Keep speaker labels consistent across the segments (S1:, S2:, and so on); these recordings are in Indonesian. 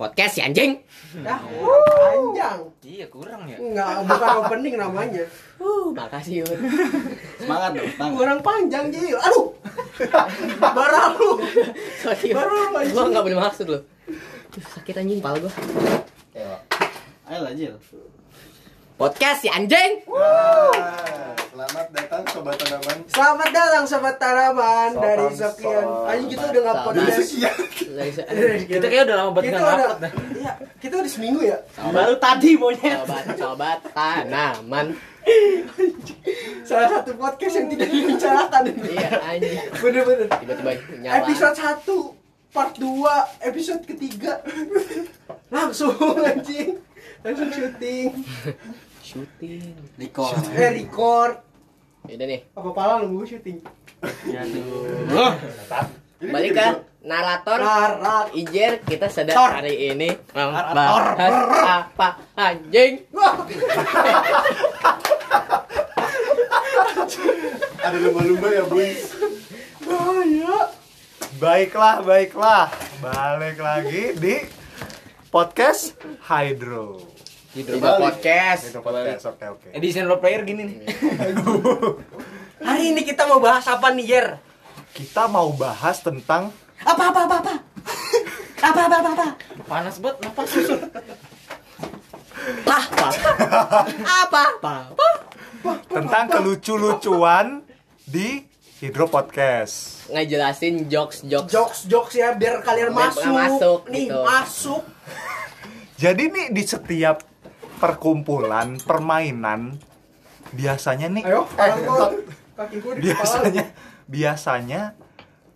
S1: Podcast si anjing.
S2: Dah, panjang.
S3: Iya kurang ya.
S2: Enggak, bukan opening namanya.
S1: Uh, makasih Yun.
S4: Semangat dong, semangat.
S2: Kurang panjang, Jil. Aduh. Barang lu.
S1: Sorry. Yun.
S2: Baru anjing.
S1: Gua enggak bermaksud loh. Duh, sakit anjing pala gua.
S4: Ayo. Ayo lah, Jil.
S1: Podcast si anjing.
S5: Wah, Selamat datang sobat tanaman.
S2: Selamat datang sobat tanaman
S5: Sobat
S2: dari sekian.
S5: sobat
S2: Anjing kita udah nggak
S1: tanaman.
S5: Dari
S2: podcast.
S5: sekian.
S1: Dari se-
S3: Kita kayak udah lama banget
S2: Kita
S3: nggak
S2: udah.
S3: ngupload dah.
S2: Iya, kita udah seminggu ya.
S4: Baru tadi monyet.
S1: Sobat, sobat tanaman.
S2: Salah satu podcast yang tidak dibicarakan ini.
S1: Iya anjing.
S2: Bener-bener.
S1: Tiba-tiba nyala.
S2: Episode 1 part 2 episode ketiga langsung anjing langsung syuting
S1: syuting.
S4: Dikol.
S2: eh record
S1: Yaudah nih,
S2: apa pala lu gue syuting
S1: balik ke
S2: Nah.
S1: narator.
S2: Larat.
S1: Ijer kita sedang
S2: Tor.
S1: hari ini membahas apa anjing?
S2: Wah,
S5: Ada lumba-lumba ya, Buy.
S2: bahaya.
S5: Baiklah, baiklah. Balik lagi di podcast Hydro.
S1: Tidak
S5: balik.
S1: podcast.
S5: Hydro podcast. Oke, oke.
S3: Edition role player gini nih.
S2: Hari ini kita mau bahas apa nih, Yer?
S5: Kita mau bahas tentang
S2: Apa apa apa apa? apa apa apa apa?
S3: Panas banget napas susut.
S1: Pah, pah. apa?
S5: tentang kelucu-lucuan di Hydro Podcast.
S1: Ngejelasin jokes-jokes.
S2: Jokes jokes ya biar kalian
S1: Biar
S2: masuk.
S1: masuk,
S2: nih
S1: gitu.
S2: masuk.
S5: Jadi nih di setiap perkumpulan, permainan biasanya nih
S1: eh,
S2: Ayo, orang gua kaki gua di kepala.
S5: biasanya biasanya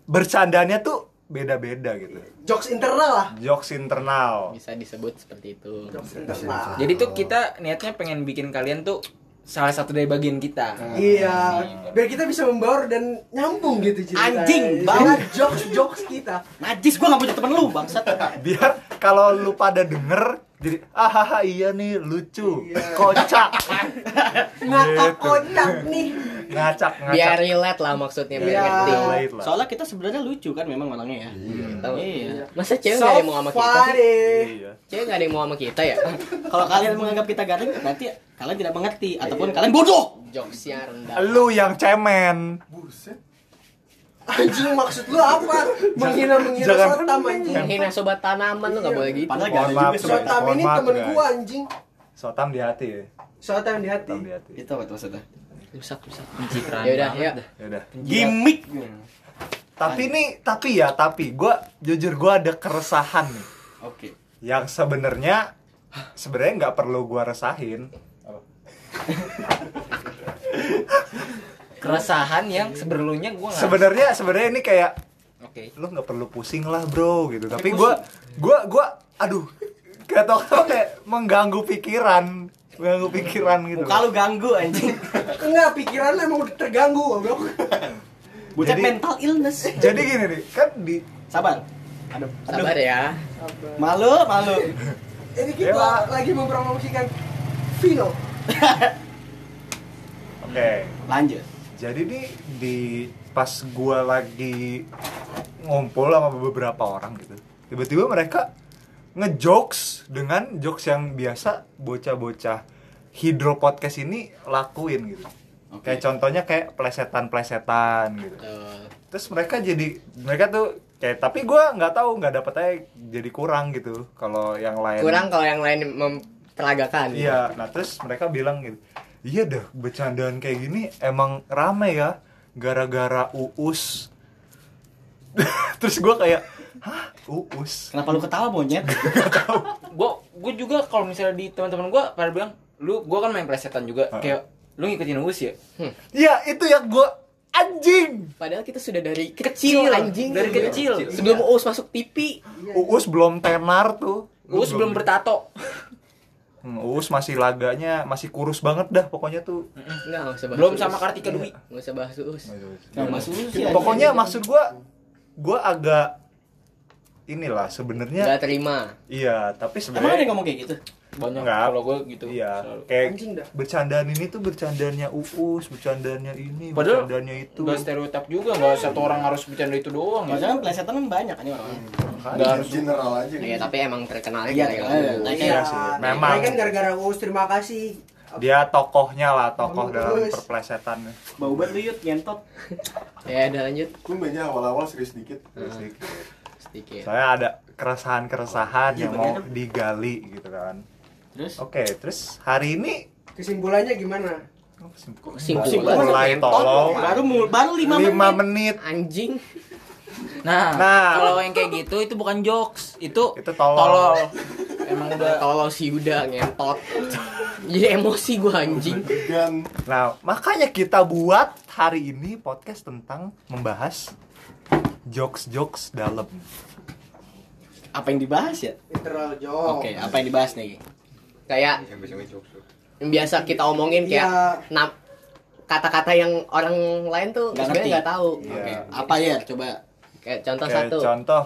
S5: bercandanya tuh beda-beda gitu
S2: Jokes internal lah.
S5: jokes internal
S1: Bisa disebut seperti itu.
S2: Jokes internal.
S3: Jadi tuh kita niatnya pengen bikin kalian tuh salah satu dari bagian kita.
S2: Iya, biar kita bisa membaur dan nyambung gitu ceritanya.
S4: Anjing,
S2: banget jokes jokes kita.
S4: Najis gua nggak punya temen lu, bangsat.
S5: biar kalau lu pada denger jadi ah haha, iya nih lucu
S2: Iya.
S5: kocak
S2: Ngakak
S5: Gitu.
S2: kocak nih.
S5: ngacak ngacak Iya,
S1: Biar relate lah maksudnya biar
S2: Iya.
S1: ngerti.
S5: Relate lah.
S4: Soalnya kita sebenarnya lucu kan memang orangnya ya.
S1: Gitu.
S4: Iya.
S1: Masa cewek
S2: So
S1: gak ada yang mau sama kita sih?
S2: funny.
S5: Iya.
S1: Cewek gak ada yang mau sama kita ya?
S4: Kalau kalian menganggap kita garing, berarti kalian tidak mengerti ataupun kalian bodoh.
S1: Jokesnya rendah.
S5: lu yang cemen
S2: Anjing maksud lu apa? Menghina menghina
S5: Jangan.
S2: sotam anjing.
S1: Menghina sobat tanaman lu gak boleh gitu.
S4: Padahal gak
S5: Mohon
S4: ada
S5: maaf,
S4: juga
S5: Sobat.
S4: sebenarnya.
S2: Sotam ini
S5: Mohon maaf,
S2: temen
S5: guys.
S2: gua anjing.
S5: sotam di hati ya
S2: Sotam di hati.
S5: sotam di hati
S4: Itu apa tuh maksudnya?
S1: Rusak, rusak.
S3: Pencitraan
S1: Ya udah,
S3: banget
S1: yuk.
S3: dah.
S5: Yaudah.
S4: Gimik.
S5: tapi nih tapi ya tapi gua jujur gua ada keresahan nih
S4: Oke.
S5: yang sebenarnya sebenarnya nggak perlu gua resahin
S3: Keresahan yang sebelumnya gua nggak.
S5: sebenarnya sebenarnya ini kayak
S3: Oke.
S5: lu nggak perlu pusing lah bro gitu tapi gua gua gua aduh gak tau kenapa kayak mengganggu pikiran mengganggu pikiran gitu
S4: Muka lu ganggu anjing.
S2: Enggak, pikiran lu emang udah terganggu, goblok.
S4: Bucek
S5: Jadi-
S4: mental illness.
S5: jadi gini nih kan di
S4: Sabar. Aduh, aduh.
S1: Sabar ya.
S4: Malu, malu.
S2: Ini kita
S5: Dewa.
S2: lagi mempromosikan Vino.
S5: oke
S4: Lanjut.
S5: jadi nih di pas gua lagi ngumpul sama beberapa orang gitu tiba-tiba mereka ngejokes dengan jokes yang biasa bocah-bocah hidro podcast ini lakuin gitu
S4: Oke.
S5: kayak contohnya kayak plesetan-plesetan gitu
S1: Tuh.
S5: terus mereka jadi mereka tuh kayak tapi gua nggak tahu nggak dapet aja jadi kurang gitu kalau yang lain
S1: Kurang kalau yang lain memperagakan.
S5: iya nah terus mereka bilang gitu iya dah bercandaan kayak gini emang rame ya gara-gara uus terus gua kayak hah uus
S4: Kenapa lu ketawa monyet?
S3: Gua gua juga kalau misalnya di teman-teman gua pada bilang, "Lu gua kan main presetan juga."
S5: Heeh.
S3: Kayak lu ngikutin Uus ya?
S5: iya itu yang gua anjing
S1: Padahal kita sudah dari kecil, anjing.
S3: Dari kecil.
S1: Sebelum Uus masuk TV.
S4: Iya,
S5: uus belum tenar tuh
S3: Uus
S5: Lu
S3: belum bertato.
S5: Hmm, uus masih laganya masih kurus banget dah pokoknya tuh
S1: Enggak, enggak usah bahas
S3: Belum
S1: Uus.
S3: sama Kartika Dwi. Gitu,
S1: Enggak usah bahas Uus.
S4: Iya. Nah, Mas Iya. Uus sih,
S5: pokoknya
S4: anjing.
S5: maksud gua gua agak inilah sebenarnya
S1: nggak terima
S5: iya tapi
S4: Emang ada yang
S5: sebenarnya
S4: ngomong kayak gitu?
S3: banyak
S5: Enggak.
S3: kalau gue gitu
S5: iya
S3: selalu.
S5: kayak
S2: Anjing dah.
S5: bercandaan ini tuh bercandaannya uus bercandaannya ini
S3: Padahal
S5: bercandaannya itu
S3: Gak stereotip juga, gak satu orang harus bercanda itu doang
S4: Kalau
S3: ya.
S4: jangan plesetan kan banyak kan orang.
S3: Hmm. Gak harus
S6: general aja
S1: ya tapi emang terkenalnya
S4: Iya,
S1: gara-gara
S4: terkenalnya.
S1: lu.
S4: Nah,
S2: Iya,
S5: sih, memang.
S2: memang. kan gara-gara Uus, terima kasih.
S5: dia tokohnya lah tokoh
S2: Bagus.
S5: dalam perplesetan
S4: Bau banget lu yut, ngentot.
S1: ya udah lanjut
S6: Gue mainnya awal-awal serius dikit.
S1: sedikit
S5: saya ada keresahan-keresahan
S4: Iya,
S5: yang mau
S4: bener.
S5: digali gitu kan
S4: Terus?
S5: oke terus hari ini
S2: Kesimpulannya gimana?
S5: apa sih?
S1: Kesimpulan.
S5: mulai
S1: Ngentot.
S5: tolong
S4: Baru mul- baru 5 menit.
S5: 5 menit
S1: anjing
S3: Nah,
S4: Ah,
S5: Nah.
S3: kalau yang kayak gitu itu bukan jokes, itu
S5: Itu tolol.
S3: Emang udah
S1: kalau si Yuda ngentot jadi emosi gua anjing
S6: Degan.
S5: Nah, makanya kita buat hari ini podcast tentang membahas jokes-jokes dalam.
S4: Apa yang dibahas ya?
S2: Literal jok.
S4: Oke, apa yang dibahas nih?
S1: kayak yang biasa kita omongin kayak
S2: Iya.
S1: nam- kata-kata yang orang lain tuh
S4: Nggak
S1: sebenarnya
S4: ngerti.
S1: nggak tahu
S5: Iya.
S4: Oke, apa ya? Coba
S1: kayak contoh
S5: Kayak
S1: satu
S5: contoh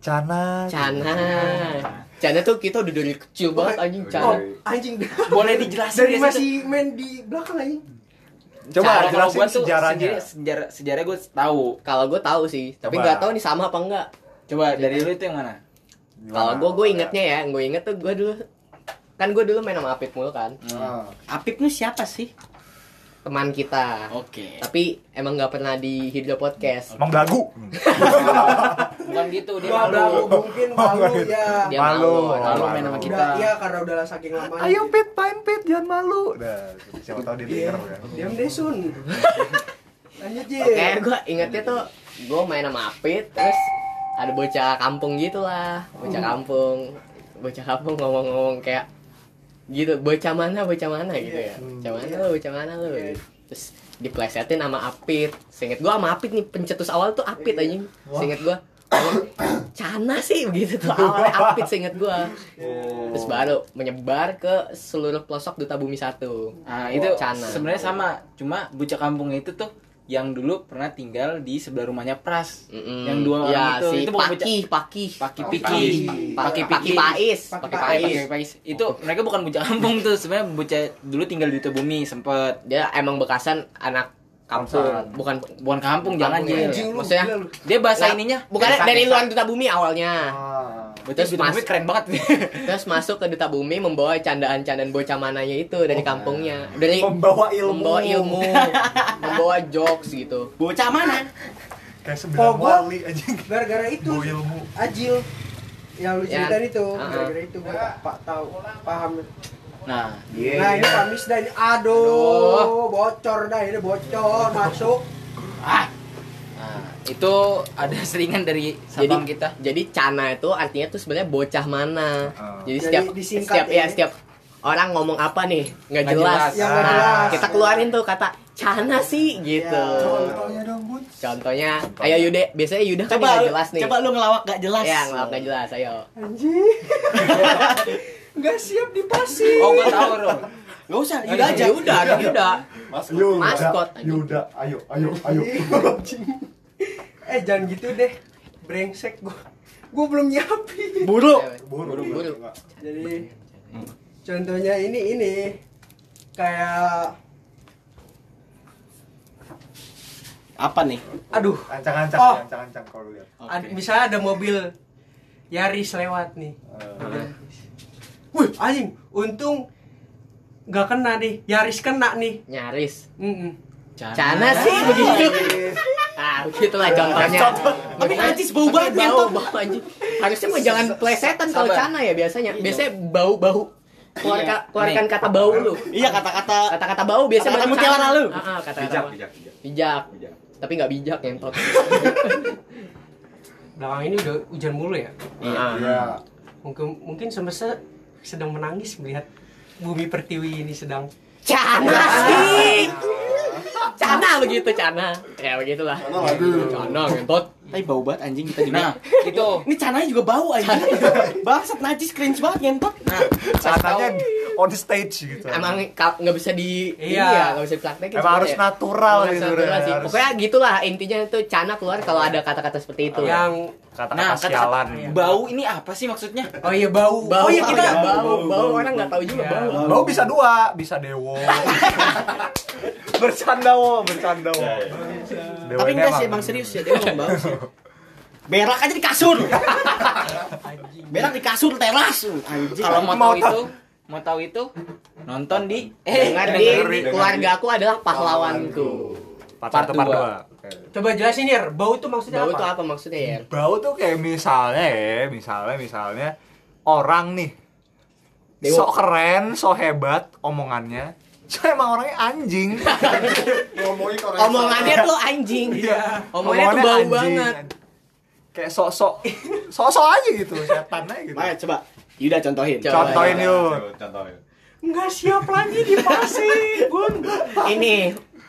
S5: Cana.
S1: Cana Cana tuh kita udah dari kecil banget anjing Cana
S2: Oh, anjing dah.
S3: boleh dijelasin
S2: Dari
S3: ya,
S2: masih main di belakang anjing.
S5: Coba
S3: Cara kalau
S5: jelasin
S3: gua tuh
S5: sejarahnya.
S3: sendiri- sejarah sejarah gue tahu.
S1: Kalau gue tahu sih Tapi
S5: Coba.
S1: nggak tahu nih sama apa enggak
S3: Coba dari lu itu yang mana?
S5: Gimana?
S1: Kalau gue, gue ingetnya ya Yang gue inget tuh gue dulu Kan gue dulu main sama Apit mulu kan
S3: Hmm.
S6: Ah,
S4: Apip lu siapa sih?
S1: Teman kita
S4: Oke.
S1: Tapi emang nggak pernah di Hidro Podcast
S5: Emang dagu.
S1: Hmm.
S3: Bukan gitu,
S5: Iya,
S3: dia
S2: Gua
S3: malu.
S2: berlaku mungkin
S5: Oh,
S2: malu ya.
S1: Dia
S5: Malu.
S1: malu orang
S3: Malu
S5: Malu.
S3: main sama kita.
S2: Udah, iya karena udah lah saking lama.
S5: Ayo Pit, main Pit, jangan malu. Nah, siapa tahu dia
S1: Iya.
S5: denger kan.
S2: Iya. Diam deh Sun. Lanjut Ji.
S1: Oke gue ingetnya tuh Gue main sama Apit Terus ada bocah kampung gitu lah Bocah
S2: Hmm.
S1: kampung Bocah kampung ngomong-ngomong kayak gitu bocah mana bocah mana gitu ya bocah mana lu bocah mana lu
S2: Hmm.
S1: gitu.
S2: Iya.
S1: terus diplesetin sama Apit seinget gua sama Apit nih pencetus awal tuh Apit
S2: Iya.
S1: anjing seinget gua "Oh, Cana sih begitu tuh awalnya Apit seinget gua
S2: Iya.
S1: terus baru menyebar ke seluruh pelosok Duta Bumi Satu
S3: Nah, itu
S1: Cana.
S3: sebenarnya sama, cuma bocah kampung itu tuh yang dulu pernah tinggal di sebelah rumahnya Pras.
S1: Mm-mm.
S3: Yang dua orang
S1: ya,
S3: itu
S1: si
S3: itu bukan bocah
S1: Paki, Paki
S3: Paki
S6: Oh,
S3: Piki.
S6: Paki.
S1: Paki
S3: Paki
S1: Paki
S3: Piki.
S1: Pais
S2: Paki
S1: Paki
S2: Pais.
S1: Pais
S3: Pake pais. Itu mereka bukan bocah kampung tuh, sebenarnya bocah dulu tinggal di Tebumi sempet
S1: dia emang bekasan anak kampung bukan
S3: bukan kampung, jangan
S1: Kampung,
S3: Jil.
S2: Anjing lu,
S1: Maksudnya,
S2: gila lu.
S3: Dia bahasa
S1: Nah,
S3: ininya
S1: bukannya
S3: desa,
S1: dari
S3: desa.
S1: luar Duta Bumi awalnya
S5: Ah.
S3: Berarti
S1: Terus
S3: Duta Bumi
S1: mas-
S3: keren banget nih.
S1: Terus masuk ke Duta Bumi membawa candaan-candaan bocah mananya itu dari
S3: Oh.
S1: kampungnya. Dari
S5: Membawa ilmu.
S1: membawa ilmu, membawa jokes gitu.
S4: Bocah mana?
S5: Kayak
S2: Oh,
S5: sembilan
S2: gua-
S5: wali anjing.
S2: Gara-gara itu
S5: Bawa ilmu.
S2: Ajil yang lu
S1: Ya.
S2: ceritain itu
S1: Ah.
S2: gara-gara itu gua Pak tahu paham.
S3: Nah,
S5: Iya.
S2: Nah, ini
S5: iya.
S2: Kamis dan aduh, bocor dah ini bocor masuk.
S3: nah, itu ada seringan dari
S1: jadi
S3: sabang kita.
S1: Jadi Cana itu artinya tuh sebenarnya bocah mana.
S3: Oh.
S5: Heeh.
S1: Jadi
S2: Jadi
S1: setiap
S2: disingkat
S1: setiap ya
S2: ya.
S1: setiap orang ngomong apa nih nggak
S3: Nggak
S1: jelas.
S3: jelas.
S2: Yang nggak
S1: Nah,
S2: jelas.
S1: kita keluarin tuh kata Cana sih gitu.
S2: Ya.
S5: Contohnya dong, Bun.
S1: Contohnya, ayo Yude, biasanya Yuda kan
S4: Coba
S1: nggak
S4: lu,
S1: jelas nih.
S4: coba lu ngelawak gak jelas.
S3: Iya,
S1: Ya, ngelawak nggak jelas, ayo.
S2: Anjing. Enggak siap dipasing.
S3: Oh, gua tahu, Ro.
S4: Gak usah,
S1: Yuda
S4: udah
S1: aja,
S4: aja.
S1: Yuda, ada Yuda.
S6: Mas,
S5: Yuda,
S1: Maskot, anjing.
S5: Yuda, ayo, ayo, ayo.
S2: Eh, jangan gitu deh. Brengsek gua. Gua belum nyiapin.
S4: Buru.
S5: Buru,
S1: Buru.
S2: Jadi contohnya ini ini kayak
S4: Apa nih?
S2: aduh,
S5: Ancang-ancang,
S2: Oh.
S5: ancang-ancang kalau lihat.
S2: ad- misalnya ada mobil Yaris lewat nih.
S5: Eh,
S2: Wih, anjing, untung nggak kena nih. Yaris kena nih.
S1: Nyaris.
S2: Mm-mm.
S1: Cana sih begitu. Ah, begitulah contohnya.
S4: Tapi najis bau banget
S1: bau,
S4: ngentot.
S1: bau anjing. Harusnya mah jangan plesetan kalau
S3: Sabar.
S1: cana ya biasanya. Biasanya bau-bau. Keluarkan
S3: Iya.
S1: keluarkan
S3: Nih.
S1: kata bau lu.
S4: Iya kata-kata
S1: Kata-kata bau biasanya Ah,
S4: Kata-kata
S1: baru
S4: mutiara
S1: cana.
S4: lu.
S1: Heeh, kata bijak,
S7: bijak bijak bijak
S1: bijak.
S7: bijak
S1: Tapi nggak bijak ngentot.
S2: Belakang ini udah hujan mulu ya.
S1: Heeh.
S6: Iya.
S2: Mungkin mungkin semesta sedang menangis melihat bumi pertiwi ini sedang
S1: Cana sih. Cana begitu cana. Ya begitulah.
S6: Cana lagi.
S1: Cana ngentot.
S4: Tapi bau banget anjing kita juga
S3: Nah, itu
S4: Ini cananya juga bau anjing Bangsat najis cringe banget ngentot
S3: Nah, kasih tahu
S5: Cananya on stage gitu
S1: emang ka- nggak bisa di
S2: Iya.
S1: iya nggak bisa dipraktekin
S5: Emang harus
S1: sebenarnya. ya.
S5: natural
S1: Emang harus
S5: gitu,
S1: natural
S5: Ren,
S1: sih.
S5: harus-
S1: pokoknya gitulah intinya itu cana keluar kalau ada kata-kata seperti itu
S2: yang
S5: kata-kata
S3: Nah,
S5: sialan ya.
S3: kata-kata bau ini apa sih maksudnya?
S2: oh iya bau.
S1: bau
S2: oh iya kita
S1: bau, bau,
S6: bau, bau.
S1: orang nggak tahu juga
S2: Iya.
S1: bau
S5: bau bisa dua bisa dewo bercanda wo bercanda wo Dewo
S4: Tapi
S5: ini
S4: enggak sih, emang serius ya, dia ngomong banget sih. Berak aja di kasur. Berak di kasur teras. lu, Anjing.
S3: Kalau mau
S5: Mau
S3: tahu itu, mau tahu itu nonton di eh
S1: Dengar di
S3: dengerin.
S6: dengerin.
S1: keluarga aku adalah pahlawanku.
S5: pacar
S3: Part
S5: tempat
S3: dua.
S5: dua
S2: Coba jelasin ya, bau itu
S1: Bau
S2: maksudnya apa?
S1: itu apa maksudnya ya?
S5: bau tuh kayak misalnya ya misalnya misalnya orang nih
S1: Dewo.
S5: sok keren sok hebat omongannya saya emang orangnya anjing
S6: ngomongin orang
S1: Omongannya tuh anjing.
S2: Iya.
S1: Omongannya tuh bau banget.
S5: kayak sok-sok sok-sok aja gitu setan aja gitu
S4: Maya coba Yuda contohin.
S1: Coba.
S5: contohin yuk
S6: contohin
S2: Nggak siap lagi di pasir, Gun.
S1: Ini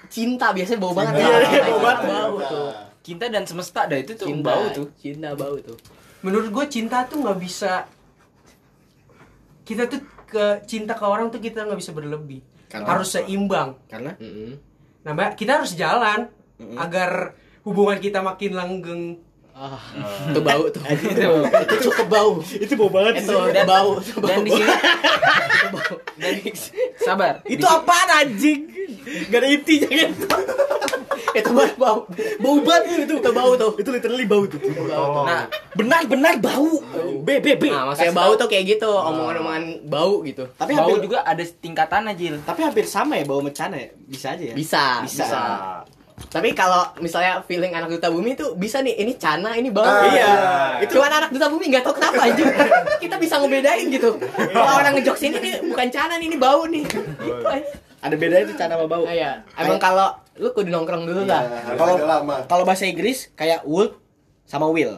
S1: cinta biasanya bau banget.
S6: Cinta.
S1: kan?
S6: Iya, bau banget.
S1: Bau tuh.
S3: cinta dan semesta dah itu tuh
S1: Cinta
S3: bau tuh.
S1: Cinta bau tuh.
S2: Menurut gue cinta tuh nggak bisa kita tuh ke cinta ke orang tuh kita nggak bisa berlebih.
S4: Karena-
S2: harus seimbang.
S4: Karena
S1: Mm-mm.
S2: Nah, kita harus jalan agar hubungan kita makin langgeng.
S1: Itu bau tuh. Eh. Itu cukup bau.
S4: itu bau banget.
S1: Itu bau. Itu
S3: Dan
S1: bau.
S3: di sini dan sabar.
S4: Itu apaan anjing? Gak ada intinya kan?
S1: Itu baru bau.
S4: Bau banget itu. Itu bau tuh. Itu literally bau tuh.
S5: Oh,
S3: Nah,
S4: Benar-benar bau. B B B.
S1: Nah, maksudnya
S3: Kasih
S1: bau
S3: tahu.
S1: tuh kayak gitu, omongan-omongan bau gitu.
S4: Tapi
S3: bau
S4: hampir
S3: juga ada tingkatan Jil.
S4: tapi hampir sama ya bau mecana ya? Bisa aja ya.
S1: Bisa,
S4: Bisa.
S1: bisa. Tapi kalau misalnya feeling anak duta bumi itu bisa nih, ini cana, ini bau. iya.
S6: Ah, iya.
S1: Itu Cuman anak duta bumi nggak tahu kenapa aja. Kita bisa ngebedain gitu. Kalau orang ngejok sini ini bukan cana nih, ini bau nih. Gitu aja.
S4: Ada bedanya tuh cana sama bau.
S1: Nah, ya. Emang kalau lu kudu nongkrong dulu lah.
S6: kalau lama
S4: Kalau bahasa Inggris kayak would sama will.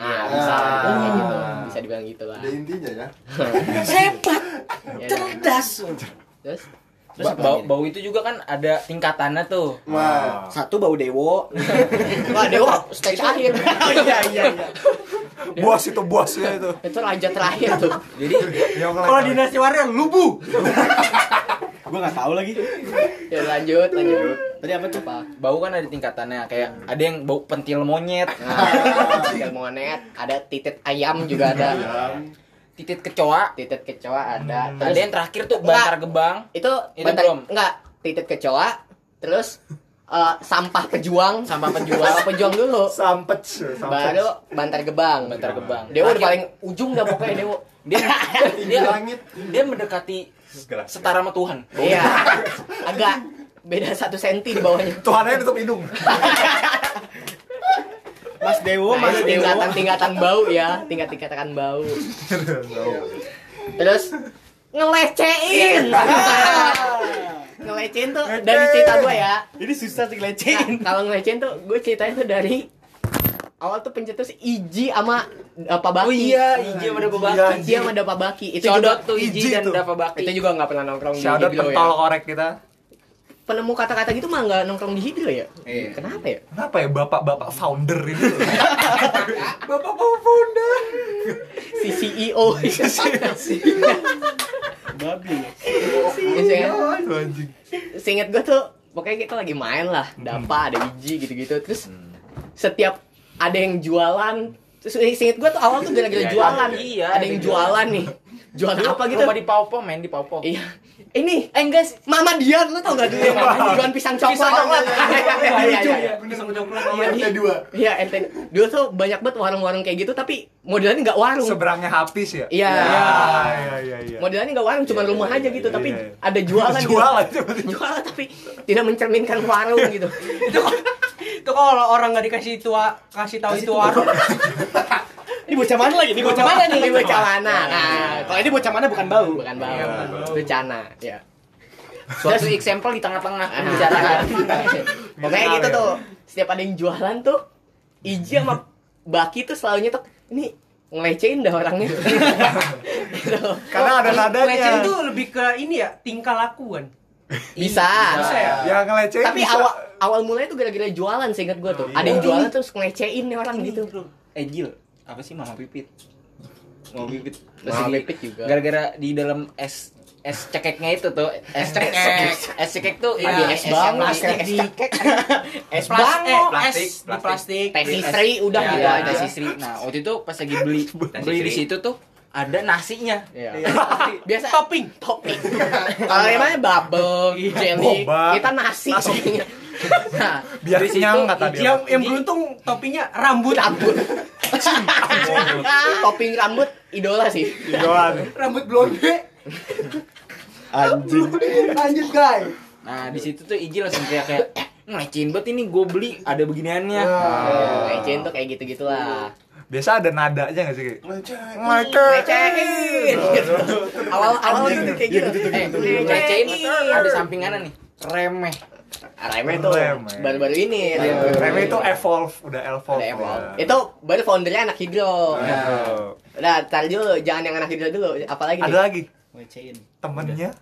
S1: Ah, bisa.
S6: Ah.
S1: Bisa gitu. Bisa dibilang gitu lah.
S6: ada intinya ya
S4: Hebat.
S1: Ya,
S4: Cerdas.
S1: Terus
S4: Terus apa
S3: Bau,
S4: lagi?
S3: bau itu juga kan ada tingkatannya tuh.
S6: wah
S4: Satu bau dewo.
S1: Wah, Dewa stage akhir.
S4: Iya iya iya.
S5: buas itu buasnya itu
S1: itu raja terakhir tuh.
S3: Jadi
S5: Yang
S2: Kalau
S5: lain-
S2: dinasti warrior lubu.
S4: Gua enggak tahu lagi.
S1: Ya lanjut, lanjut.
S4: Tadi apa tuh?
S1: Apa?
S3: bau kan ada tingkatannya kayak ada yang bau pentil monyet,
S1: Nah, monet, ada titik ayam juga ada.
S3: titit kecoa,
S1: Titik kecoa ada.
S3: ada yang terakhir tuh bantar gebang.
S1: itu
S3: Itu
S1: bentar,
S3: belum.
S1: enggak titik kecoa terus eh, sampah pejuang
S3: Sampah pejuang.
S1: Sampah pejuang dulu
S5: sampet sih, sampet.
S1: baru bantar gebang
S3: Bantar gebang.
S1: dewo udah paling ujung dah pokoknya dewo
S3: dia
S6: tinggi
S3: dia
S6: langit
S3: dia mendekati setara sama Tuhan.
S1: iya agak beda satu senti di bawahnya
S5: Tuhan aja tutup hidung
S4: Mas
S1: Nah,
S4: Dewo, Mas
S1: itu
S4: Dewo.
S1: tingkatan tingkatan bau ya tingkat tingkatan bau terus ngelecehin ngelecehin tuh dari cerita gue ya
S4: Ini susah sih
S1: Nah,
S4: ngelecehin.
S1: kalau ngelecehin tuh gue ceritanya tuh dari awal tuh pencetus Iji sama uh, Pak Baki.
S3: Oh iya, Iji sama Dapa Baki.
S1: Iji sama Dapa Baki. Itu
S3: Codot
S1: juga
S3: tuh Iji
S5: Iji
S3: dan
S5: tuh.
S3: Dapa
S1: itu
S3: Baki.
S1: juga nggak pernah nongkrong di
S5: Shadow
S1: Hidro ya.
S5: pentol korek kita
S1: Penemu kata-kata gitu mah nggak nongkrong di Hidro ya. Kenapa ya?
S5: Kenapa ya bapak-bapak founder ini loh?
S2: Bapak bapak bunda.
S1: Si E CEO.
S4: Babi.
S5: E Aduh, anjing
S1: Seingat gue tuh pokoknya kita lagi main lah. Dapa ada Iji gitu-gitu. Terus setiap ada yang jualan Terus seinget gue tuh awal tuh gara-gara
S6: Iya, iya,
S1: jualan
S3: iya.
S1: Ada yang jualan nih Jualan apa gitu
S3: Rumah di Paupo, men di Paupo.
S1: Iya. Ini, eh guys, Mama Dian lu tau gak dulu yang jualan pisang coklat?
S2: Pisang coklat.
S1: Iya, iya, iya, iya.
S2: Pisang coklat.
S6: Nomor
S1: Iya.
S6: kedua
S1: Iya, ente. Dulu tuh banyak banget warung-warung kayak gitu tapi modelannya nggak warung.
S5: Seberangnya habis ya?
S1: Iya.
S5: Iya, iya, iya
S1: Modelannya nggak warung, cuma
S6: Iya, iya,
S1: rumah
S6: iya,
S1: aja gitu
S6: iya,
S1: tapi
S5: iya, iya.
S1: ada jualan. gitu.
S5: Jualan tiba-tiba.
S1: Jualan tapi tidak mencerminkan warung gitu.
S2: Itu itu kalau orang nggak dikasih tua kasih tahu itu warung.
S4: Ini bocah mana lagi? Ini bocah mana
S1: Mana
S4: nih?
S1: nih bocah mana? Nah,
S4: Kalau ini bocah mana bukan bau.
S1: bukan bau.
S2: Iya, bukan bau.
S1: Becana, ya.
S3: Suatu example di tengah-tengah
S1: Ah.
S3: pembicaraan.
S1: Pokoknya gitu tuh. Setiap ada yang jualan tuh Iji sama Baki tuh selalu nyetok ini ngelecehin dah orangnya. Gitu.
S5: Karena ada nadanya
S2: Pelecehan itu lebih ke ini ya, tingkah lakuan.
S1: Bisa.
S2: Bisa ya?
S5: Yang ngelecehin
S1: Tapi
S5: bisa.
S1: awal awal mulanya tuh gara-gara jualan seingat gua tuh.
S5: Iya.
S1: Ada yang
S3: Oh,
S1: jualan
S3: ini.
S1: terus ngelecehin nih orang gitu.
S3: Eh Jil, apa sih Mama Pipit? Mama Pipit.
S1: Mama
S3: Terus
S1: Pipit juga.
S3: Gara-gara di dalam es es cekeknya itu tuh es cekek Iya, es cekek tuh
S1: Ada
S3: ini,
S1: es
S3: yang
S1: bango,
S3: plastik,
S1: es
S3: es
S1: cekek.
S3: cekek
S4: es
S2: Eh,
S4: bango es
S7: plastik,
S4: di plastik
S3: teh
S1: Istri udah
S3: Iya,
S1: gitu aja.
S3: nasi Sri. Nah, waktu itu pas lagi beli beli di situ tuh ada nasinya.
S1: Iya. Biasa topping, Iya. topping. Kalau yang mana bubble, jelly,
S5: Boba.
S1: kita nasi. Nah,
S5: biar kenyang kata dia
S7: yang yang beruntung topinya rambut
S1: rambut. topping rambut idola sih.
S5: Doan.
S2: Rambut blonde.
S5: anjing
S2: Lanjut guys.
S3: Nah, di situ tuh Iji langsung kayak kayak "Eh, ngelecehin banget ini gue beli ada beginiannya.
S1: Lecen tuh kayak gitu-gitu lah.
S5: biasa ada nadanya nggak sih
S6: Lecek.
S1: Lecehin. gitu. Awal awal tuh kayak gitu. Eh,
S3: Ngelecehin
S1: Lecehin.
S3: ada sampingan nih. Remeh.
S1: Remeh tuh Iya,
S5: Remeh.
S1: baru-baru ini.
S5: Remy itu evolve udah evolve,
S1: Udah evolve.
S5: Ya.
S1: Itu baru foundernya anak hidro.
S5: Evolve.
S1: Udah, tar dulu, jangan yang anak hidro dulu. Apalagi
S5: ada
S1: nih?
S5: lagi
S4: Ngecein.
S5: temennya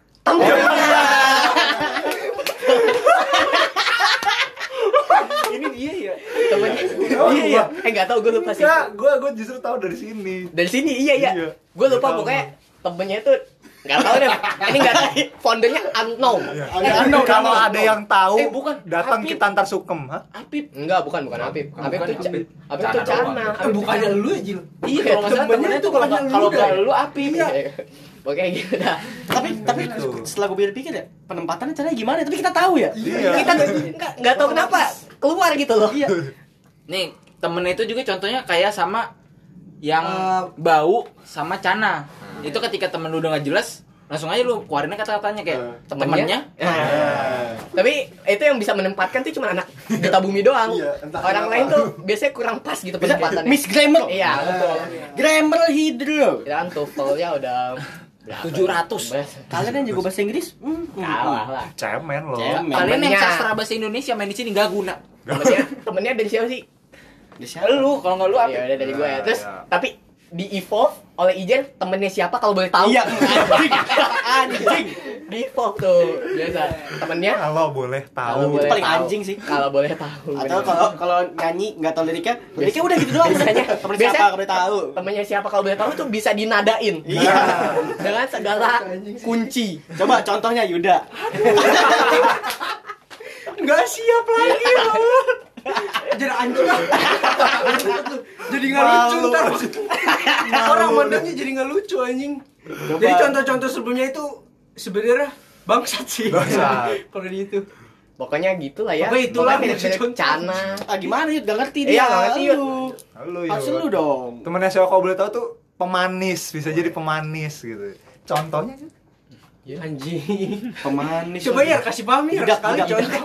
S3: Ini dia ya.
S1: Temennya. Iya, iya. Eh, nggak tahu gue lupa sih.
S5: enggak gue gue justru tahu dari sini
S1: Dari sini, iya, iya.
S5: Iya.
S1: Gue lupa
S5: Nggak tahu.
S1: pokoknya Iya, temennya itu nggak tahu deh. Ini nggak tahu. Foundernya unknown.
S5: Iya, kalau ada yang tahu
S3: Eh, bukan.
S5: datang
S3: Tapi-
S5: kita antar sukem ha
S3: Apip.
S1: Enggak, bukan, bukan Apip. Apip
S3: bukan
S1: tuh Ca-
S3: Apip.
S1: Apip tuh
S7: Cana doang.
S1: Cana.
S7: Eh,
S1: Apip tuh
S7: bukannya
S1: Cana.
S7: lu ya Jil
S3: Iya, kalau nggak salah
S2: temennya
S3: temennya
S2: tuh
S3: tuh kalau nggak-
S2: temennya
S3: kalau
S2: lu
S3: nggak
S2: deh.
S3: lu Apip.
S1: Iya. Oke, gitu dah.
S4: tapi tapi
S5: Gitu.
S4: setelah gue pikir-pikir ya penempatannya caranya gimana tapi kita tahu ya
S5: Iya.
S1: Kita tuh nggak- nggak tahu kenapa keluar gitu loh.
S4: iya
S3: Nih, temennya itu juga contohnya kayak sama yang
S2: Eh,
S3: bau sama cana. Itu ketika temen lu udah nggak jelas, langsung aja lu keluarin kata-katanya kayak temennya.
S1: Nah, tapi itu yang bisa menempatkan tuh cuma anak Duta Bumi doang.
S6: Iya, entah
S1: Orang
S6: kenapa.
S1: lain tuh biasanya kurang pas gitu penempatannya.
S4: Miss Grammar
S1: Iya, betul.
S4: Grammar Hydro
S1: Dan TOEFL-nya udah berapa?
S3: 700.
S4: kalian yang jago bahasa Inggris hmm, hmm,
S1: Kalah lah.
S5: cemen loh
S4: Cemen.
S3: Kalian yang
S1: Temennya.
S3: sastra bahasa Indonesia main di sini nggak guna.
S1: Temennya, temennya dari siapa sih?
S4: hmm.
S3: Lu kalau nggak lu apa?
S1: Ya udah dari gue ya.
S5: Iya,
S1: Terus
S5: iya.
S1: tapi di evolve oleh Ijen temennya siapa kalau boleh tahu?
S4: iya anjing anjing
S1: Di evolve tuh biasa temennya
S5: kalau boleh
S1: kalau
S5: tahu Iya.
S1: boleh
S4: paling
S1: tahu.
S4: anjing sih.
S1: Kalau boleh tahu.
S4: atau
S1: bener.
S4: kalau kalau nyanyi nggak tahu liriknya liriknya udah gitu doang
S1: biasanya
S4: Temen
S1: biasanya
S4: siapa kamu tahu
S1: temennya siapa kalau boleh tahu tuh bisa dinadain
S4: Iya.
S1: dengan segala kunci
S4: coba contohnya Yuda
S2: Nggak siap lagi lu. Jadi anjing lah. jadi nggak lucu
S5: Malu.
S2: ntar. Orang mandangnya jadi nggak lucu anjing. Jadi contoh-contoh sebelumnya itu sebenarnya bangsat sih.
S5: Bangsat.
S2: Kalau di itu.
S1: pokoknya gitulah ya
S2: Pokoknya itulah
S1: Pokoknya mirip-mirip
S2: kunci-kunci.
S1: cana
S4: ah gimana Yud nggak ngerti dia
S1: Iya, nggak ngerti, Yud.
S4: Lu.
S5: Halo,
S4: harus
S5: Yud.
S4: lu dong
S5: temennya siapa kalau boleh tahu tuh pemanis bisa jadi pemanis gitu contohnya kan?
S2: Anjing.
S1: Iya.
S4: pemanis
S2: Coba ya kasih pamir
S4: Budak,
S2: sekali
S4: budak,
S2: contoh.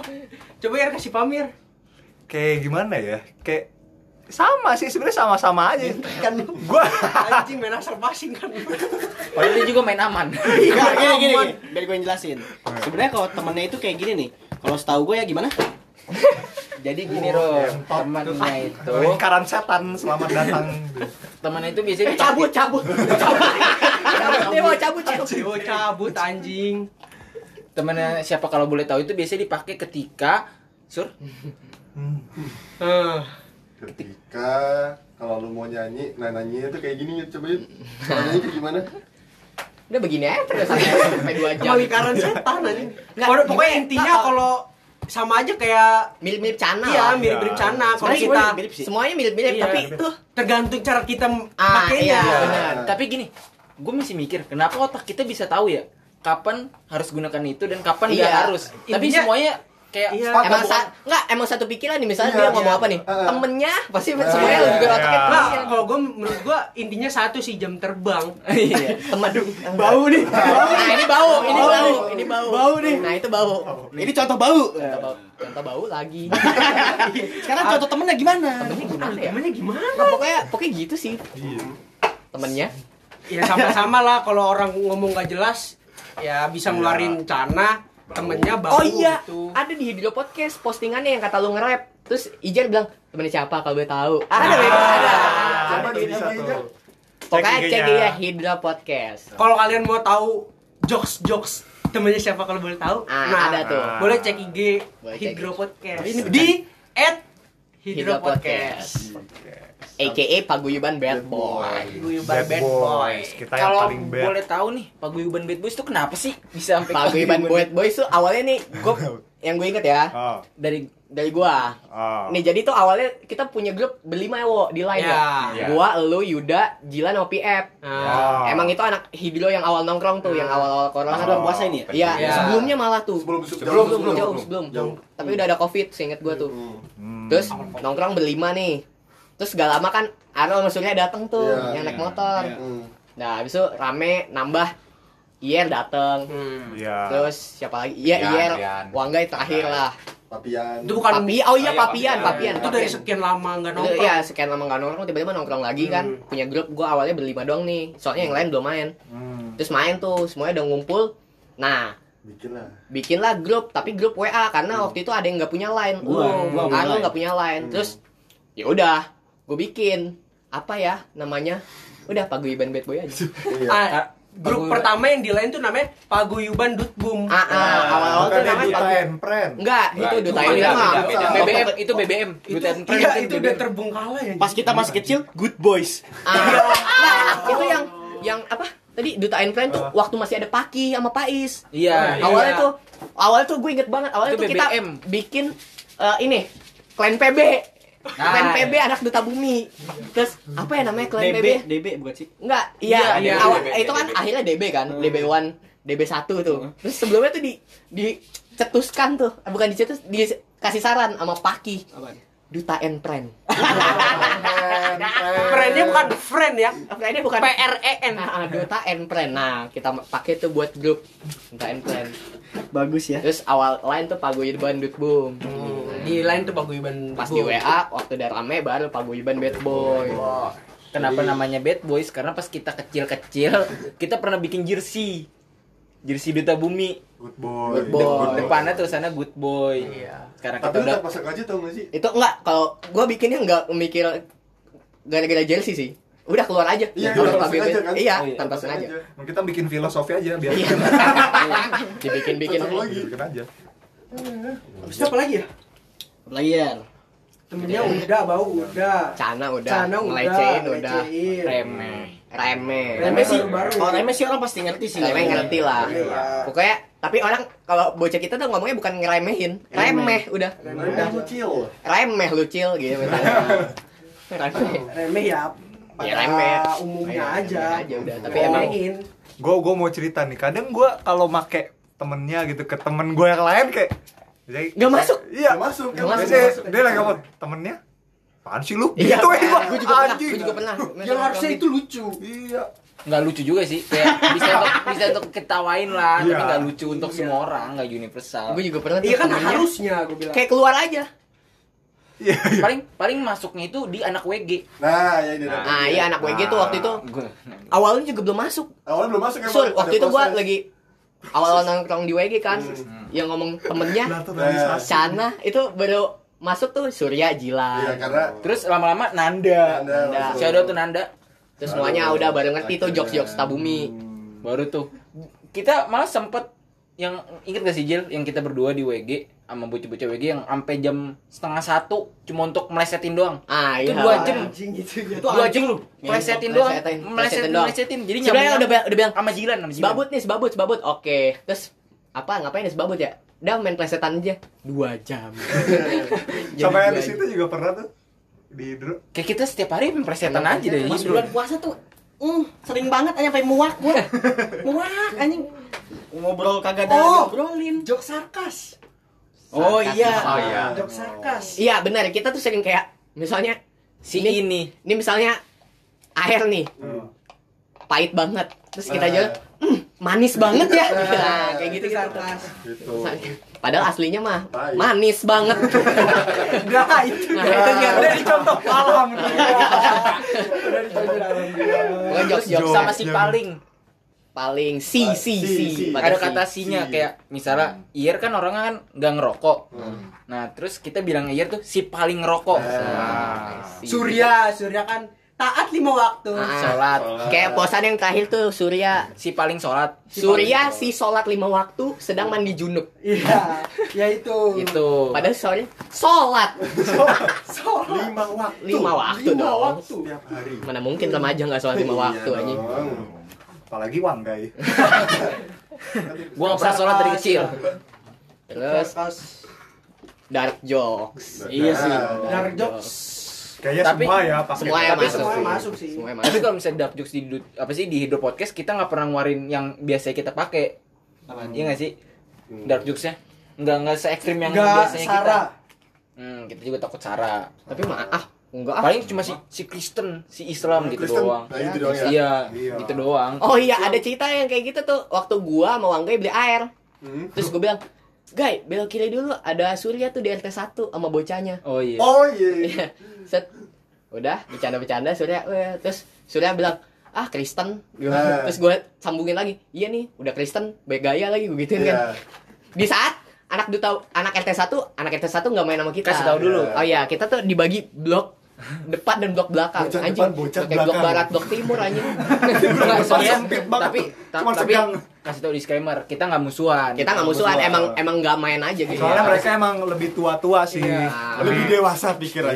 S2: Coba ya kasih pamir.
S5: kayak gimana ya kayak sama sih sebenarnya sama-sama aja kan gue
S2: Anjing main asal pasing kan.
S3: Padahal dia juga main aman.
S4: Nggak, Iya, gini gini gini. biar gue yang jelasin sebenarnya kalau temennya itu kayak gini nih kalau setahu gue ya gimana
S3: Jadi gini Ro, temennya itu,
S5: lingkaran setan selamat datang
S3: temennya itu
S1: eh
S3: biasanya
S1: cabut cabut cabut cabut dia mau cabut cabut
S2: Dewa cabut anjing.
S3: temennya siapa kalau boleh tahu itu biasanya dipakai ketika sur
S2: Eh,
S6: Ketika kalau lu mau nyanyi, nah nyanyinya tuh kayak gini ya, coba yuk. Nyanyinya kayak gimana?
S1: udah begini aja terus sampai sampai dua jam
S2: Emang lingkaran setan anjing.
S1: Nggak,
S2: Pokoknya- Pokoknya intinya kalau sama aja kayak
S1: mirip mirip cana
S2: Iya,
S1: lah.
S2: mirip mirip cana. Kalau
S1: Soalnya
S2: kita
S1: semuanya mirip sih. semuanya mirip mirip
S2: Iya.
S1: tapi tuh
S2: tergantung cara kita m-
S1: ah iya
S2: pakainya.
S1: benar
S3: tapi gini, gue masih mikir kenapa otak kita bisa tahu ya kapan harus gunakan itu dan kapan nggak
S1: Iya.
S3: harus. Tapi
S2: Intinya-
S3: semuanya kayak
S2: Iya.
S6: Sepakat,
S1: emang
S6: bukan?
S1: sa- nggak emang satu pikiran nih misalnya
S6: Iya,
S1: dia ngomong
S6: iya.
S1: apa nih
S6: Heeh.
S1: temennya pasti
S6: Iya,
S1: semuanya
S6: iya,
S1: juga
S5: iya.
S1: otaknya
S2: Nah,
S1: temennya.
S2: kalau gue menurut gue intinya satu sih jam terbang.
S1: temen bau nih nah ini bau ini
S4: Bau
S1: bau
S4: nih.
S1: ini bau
S4: Bau nih.
S1: nah itu bau
S4: ini contoh bau
S1: Contoh bau- contoh bau lagi Ah.
S4: sekarang contoh temennya gimana
S1: temennya gimana ya
S2: Namanya gimana?
S1: Nah, pokoknya pokoknya gitu sih temennya
S2: Ya sama-sama lah kalau orang ngomong gak jelas ya bisa ngeluarin cana temennya bau
S1: oh iya
S2: gitu.
S1: ada di video podcast postingannya yang kata lu nge-rap terus Ijan bilang temennya siapa kalau boleh tahu ada bego ada
S6: Coba
S5: tuh
S6: di
S5: bisa
S6: IG-nya.
S5: tuh.
S1: pokoknya
S5: IG-nya.
S1: cek ya Hidra Podcast
S2: Kalau kalian mau tahu jokes-jokes temennya siapa kalau boleh tahu,
S1: ah ada tuh
S5: nah.
S2: boleh cek IG
S1: Boleh cek.
S2: Hydro Podcast
S4: Ini
S2: di at
S1: Hidro Podcast. AKA Paguyuban Bad Boy.
S2: Guyuban
S5: Bad Boys, kita yang
S3: Kalau
S5: paling bad.
S3: boleh tahu nih, Paguyuban Bad Boys itu kenapa sih bisa sampai
S1: Paguyuban Bad Boys tuh awalnya nih gue yang gue inget ya
S5: Oh,
S1: dari dari gua.
S5: oh.
S1: Nih jadi tuh awalnya kita punya grup berlima ya Wo, di line
S2: Ya.
S1: ya. Gua, elu, Yuda, Jilan, Opi, Ep.
S2: Nah,
S5: Oh.
S1: Emang itu anak Hidro yang awal nongkrong tuh, yang awal-awal corona.
S4: Pas bulan puasa ini ya?
S1: Iya,
S2: Iya.
S1: sebelumnya malah tuh.
S6: Sebelum- sebelum-
S1: sebelum,
S6: sebelum-
S1: jauh sebelum.
S6: sebelum. Jauh.
S1: Tapi udah ada Covid, seinget gua tuh.
S6: Hmm.
S5: Hmm.
S1: Terus nongkrong berlima nih. Terus gak lama kan Arnold maksudnya dateng tuh
S6: Iya.
S1: yang naik motor.
S4: Iya.
S6: Hmm.
S1: Nah, habis itu rame nambah Iyer dateng.
S5: ya.
S1: Terus siapa lagi? Iya,
S8: Ian,
S1: Iyer.
S8: Ian.
S1: Wanggai terakhir lah.
S6: Papian.
S2: Itu bukan
S1: Papi, oh
S8: Iya,
S1: iya Papian,
S8: Papian.
S1: Papian.
S2: itu dari sekian lama nggak
S1: Itu
S2: nongkrong.
S1: ya sekian lama gak nongkrong tiba-tiba nongkrong lagi kan punya grup gue awalnya berlima doang nih soalnya yang lain belum main
S5: Hmm.
S1: terus main tuh semuanya udah ngumpul nah
S6: Bikin lah.
S1: bikinlah grup tapi grup WA karena waktu itu ada yang nggak punya line
S4: Gua, gua
S1: lu
S4: punya
S1: Anu
S4: line.
S1: nggak punya line
S6: Hmm.
S1: terus ya udah gue bikin apa ya namanya udah paguyuban bad boy aja
S6: Iya.
S2: Ah, grup
S3: Paguyuban.
S2: pertama yang di lain tuh namanya Paguyuban Dutbum.
S1: ah, ah, awal-awal tuh
S6: Bukannya
S1: namanya
S6: duta
S1: paguyuban
S6: empren.
S1: enggak
S8: Enggak,
S1: itu
S8: itu
S1: duta
S2: beda,
S1: ini mah
S6: beda, beda.
S3: BBM itu BBM.
S2: itu
S3: Duta Empren,
S2: iya,
S3: itu
S2: itu udah
S3: BBM.
S2: terbengkalai ya.
S4: Pas kita masih kecil, good boys.
S1: Ah, nah,
S3: Ah.
S1: itu yang yang apa tadi duta influence tuh waktu masih ada Paki sama Pais
S3: Iya.
S1: awalnya
S3: iya.
S1: tuh awalnya tuh gue inget banget awalnya
S3: Itu
S1: tuh kita
S3: BBM.
S1: bikin eh, ini klan PB klan PB anak duta bumi terus apa ya namanya klan PB
S4: DB, DB bukan sih? Hmm.
S1: enggak iya,
S3: Iya,
S1: awal-
S8: DB,
S1: itu kan
S8: DB.
S1: akhirnya DB kan DB 1 DB 1 tuh terus sebelumnya tuh di dicetuskan tuh Eh, bukan dicetus dikasih saran sama Paki
S4: Apaan?
S1: duta and friend
S2: Friendnya bukan friend ya.
S1: ini bukan
S2: P R E N.
S1: Nah, ah, Dota and Friend. Nah, kita pakai tuh buat grup Dota and Friend.
S4: Bagus ya.
S1: Terus awal lain tuh Paguyuban Dut Boom.
S3: Hmm,
S2: Di lain tuh Paguyuban
S1: Pas di
S2: Dutbum.
S1: WA waktu udah rame baru Paguyuban Bad Boy.
S3: Kenapa
S6: Jadi-
S3: namanya Bad Boys? Karena pas kita kecil-kecil, kita pernah bikin jersey. Jersey Duta Bumi.
S5: Good boy.
S6: Good
S1: boy.
S3: Dep- Depannya tulisannya Good Boy. Sekarang
S6: Tapi
S3: kita
S6: lu
S3: udah
S6: tak pasang aja tau gak sih?
S1: Iya. Itu enggak kalau gua bikinnya enggak mikir gara-gara jersey sih. Udah keluar aja.
S6: Iya,
S1: Udah
S6: tanpa
S1: Paguyuban.
S6: sengaja kan?
S1: Iya,
S6: Iya,
S1: tanpa sengaja.
S5: Kita bikin filosofi aja biar
S1: Iya. Dibikin-bikin.
S6: Cocok lagi.
S5: bikin aja.
S2: Terus apa lagi ya?
S4: Player.
S2: Temennya udah, bau udah.
S1: Cana udah,
S2: Cana udah,
S1: melecehin udah,
S2: melecehin.
S3: remeh.
S1: reme.
S2: Remeh sih baru.
S1: Oh,
S4: Kalau remeh sih orang pasti ngerti sih.
S1: Remeh ngerti lah.
S2: Iya.
S1: Pokoknya tapi orang kalau bocah kita tuh ngomongnya bukan ngeremehin, remeh udah.
S2: Remeh
S6: Udah
S2: udah.
S6: kecil.
S1: remeh lucil gitu
S4: Iya.
S1: misalnya remeh
S2: Remeh ya. Pada
S1: ya remeh
S2: umumnya
S1: Iya,
S2: aja.
S1: remeh aja udah tapi
S2: Remehin.
S1: emang
S5: Gue gue mau cerita nih. Kadang gue kalau make temennya gitu ke temen gue yang lain kayak jadi-
S1: Nggak masuk.
S5: Iya.
S6: Nggak masuk, nggak
S5: Biasanya
S6: masuk.
S5: Dia lagi ngomong temennya. Apaan sih lu?
S1: Iya, gue
S5: Gitu ya,
S1: juga pernah, gue juga pernah.
S2: Yang harusnya itu lucu.
S5: Iya.
S3: nggak lucu juga sih kayak bisa untuk bisa untuk ketawain lah tapi
S5: Iya.
S3: nggak lucu untuk semua orang nggak universal
S1: gue juga pernah tuh
S2: Iya kan
S1: temennya.
S2: harusnya gue bilang.
S1: kayak keluar aja
S5: Iya. iya.
S3: paling paling masuknya itu di anak WG
S6: Nah, ya ini. dah.
S1: ah iya anak WG tuh waktu itu
S3: gue
S1: awalnya juga belum masuk
S6: Awalnya belum masuk ya,
S1: Sul,
S6: emang,
S1: waktu
S6: ada
S1: itu gue
S6: proses.
S1: lagi awal-awal nongkrong di WG kan yang ngomong temennya
S5: Naturalisasi.
S1: Sana itu baru masuk tuh Surya
S6: Iya,
S1: Jila
S6: karena
S3: terus lama-lama Nanda
S6: Anda
S1: Anda.
S6: masuk.
S3: shadow tuh Nanda
S1: terus semuanya udah baru ngerti tuh
S6: Akhirnya.
S1: jokes-jokes tabumi
S6: Hmm.
S3: baru tuh kita malah sempet yang inget gak sih Jil yang kita berdua di WG sama bocah-bocah WG yang sampai jam setengah satu cuma untuk melesetin doang
S1: ah
S3: itu
S1: iya
S3: dua jam
S2: Anjing gitu ya.
S3: itu dua jam lu melesetin doang
S1: Melesetin, melesetin
S3: melesetin
S1: doang.
S3: melesetin jadi
S1: Sebenarnya udah
S3: nyambung
S1: udah bilang
S3: sama Jilan sama Jilan
S1: Sebabut nih, sebabut, sebabut. Oke. Terus apa ngapain ya sebabut ya? Udah main plesetan aja. Dua jam. Jadi
S5: Sama yang
S1: dua
S5: di situ juga pernah tuh di Hidro.
S3: kayak kita setiap hari melesetin
S1: Emang
S3: aja deh Iya,
S4: Pas bulan puasa tuh mm, sering banget aja sampai muak gua. muak anjing. Ngobrol kagak ada
S2: Oh.
S4: ngobrolin.
S2: Jok sarkas.
S4: Oh iya.
S8: Oh iya.
S2: Jok sarkas.
S1: Iya benar. Kita tuh sering kayak misalnya
S3: si
S1: Ini-
S3: ini
S1: ini misalnya air nih
S6: Hmm.
S1: pahit banget. Terus kita
S6: Nah.
S1: aja manis banget ya. Nah, kayak gitu
S2: Itu
S1: gitu.
S2: sarkas.
S6: Gitu.
S1: Padahal aslinya mah
S6: Pahit.
S1: manis banget.
S2: Nah itu.
S1: Nah, itu dia.
S2: Udah dicontoh alam. Udah dicontoh alam.
S1: Iya. Bukan jokes jokes
S5: Jokes.
S1: sama
S3: sama si
S5: yang-
S3: paling
S1: paling si si
S6: Si,
S1: si.
S6: si.
S1: Pakai
S3: ada
S1: si.
S3: kata sinya
S6: si.
S3: kayak misalnya Iyer kan orangnya kan nggak ngerokok nah terus kita bilang Iyer tuh si paling ngerokok
S6: Nah.
S1: Nah, si.
S2: Surya, Surya kan
S7: taat lima waktu.
S1: Ah,
S3: Sholat.
S1: Kayak posan yang terakhir tuh Surya.
S3: Si paling sholat.
S1: Surya si sholat lima waktu sedang mandi junub.
S7: Iya, ya itu.
S1: Gitu.
S3: Itu.
S1: Padahal sore sholat
S6: lima waktu
S1: lima waktu
S7: Lima
S1: dong.
S7: waktu.
S6: tiap hari
S1: Mana mungkin remaja nggak sholat lima
S6: Iya
S1: waktu aja.
S6: dong.
S5: Apalagi Wanggai.
S3: Gua nggak pernah sholat dari kecil.
S1: Terus
S7: Pas
S1: dark jokes.
S3: Iya sih.
S7: dark jokes.
S5: Kayaknya
S3: Tapi-
S5: semua ya pakai.
S1: Semua yang
S3: Tapi
S1: masuk.
S7: semuanya
S1: sih.
S7: masuk sih.
S1: Semua yang
S3: Tapi
S1: masuk.
S3: kalau misalnya dark jokes di Dud- apa sih di Hidro Podcast kita nggak pernah ngeluarin yang biasanya kita pakai. Iya nggak sih? Dark jokesnya nggak nggak se ekstrim yang
S7: Enggak,
S3: biasanya kita.
S7: Sarah.
S3: Hmm, kita juga takut Sarah.
S1: Tapi maaf, enggak ah.
S3: Paling cuma si si Kristen, si Islam gitu
S6: Kristen,
S3: doang.
S6: nah, gitu doang ya.
S3: Iya,
S5: Iya.
S3: gitu doang.
S1: Oh iya, ada cerita yang kayak gitu tuh. Waktu gua mau Wanggai beli air.
S6: Hmm.
S1: Terus gua bilang, "Guys, belok kiri dulu, ada Surya tuh di RT 1 sama bocahnya."
S3: Oh iya.
S6: oh iya
S1: Iya. Set. Udah bercanda-bercanda Surya eh, terus Surya bilang ah Kristen
S6: Nah.
S5: Iya.
S1: terus gue sambungin lagi iya nih udah Kristen baik gaya lagi gue gituin kan
S6: Iya.
S1: di saat anak duta anak RT 1 anak RT 1 nggak main sama kita
S3: Kasih tahu dulu.
S1: oh iya kita tuh dibagi blok depan dan blok belakang
S5: Bocah
S1: anjing
S5: depan, bocah
S1: Kayak blok
S5: belakang.
S1: barat blok timur anjing
S3: Nggak,
S5: Depan
S3: soalnya-
S5: sempit banget
S3: tapi
S5: tuh.
S3: ta-
S5: Cuma
S3: tapi Iya.
S5: segang.
S3: kasih tau disclaimer, kita nggak musuhan.
S1: kita nggak musuhan emang emang nggak main aja gitu Iya.
S5: Soalnya mereka emang lebih tua-tua sih.
S1: Iya.
S5: Lebih dewasa pikirannya.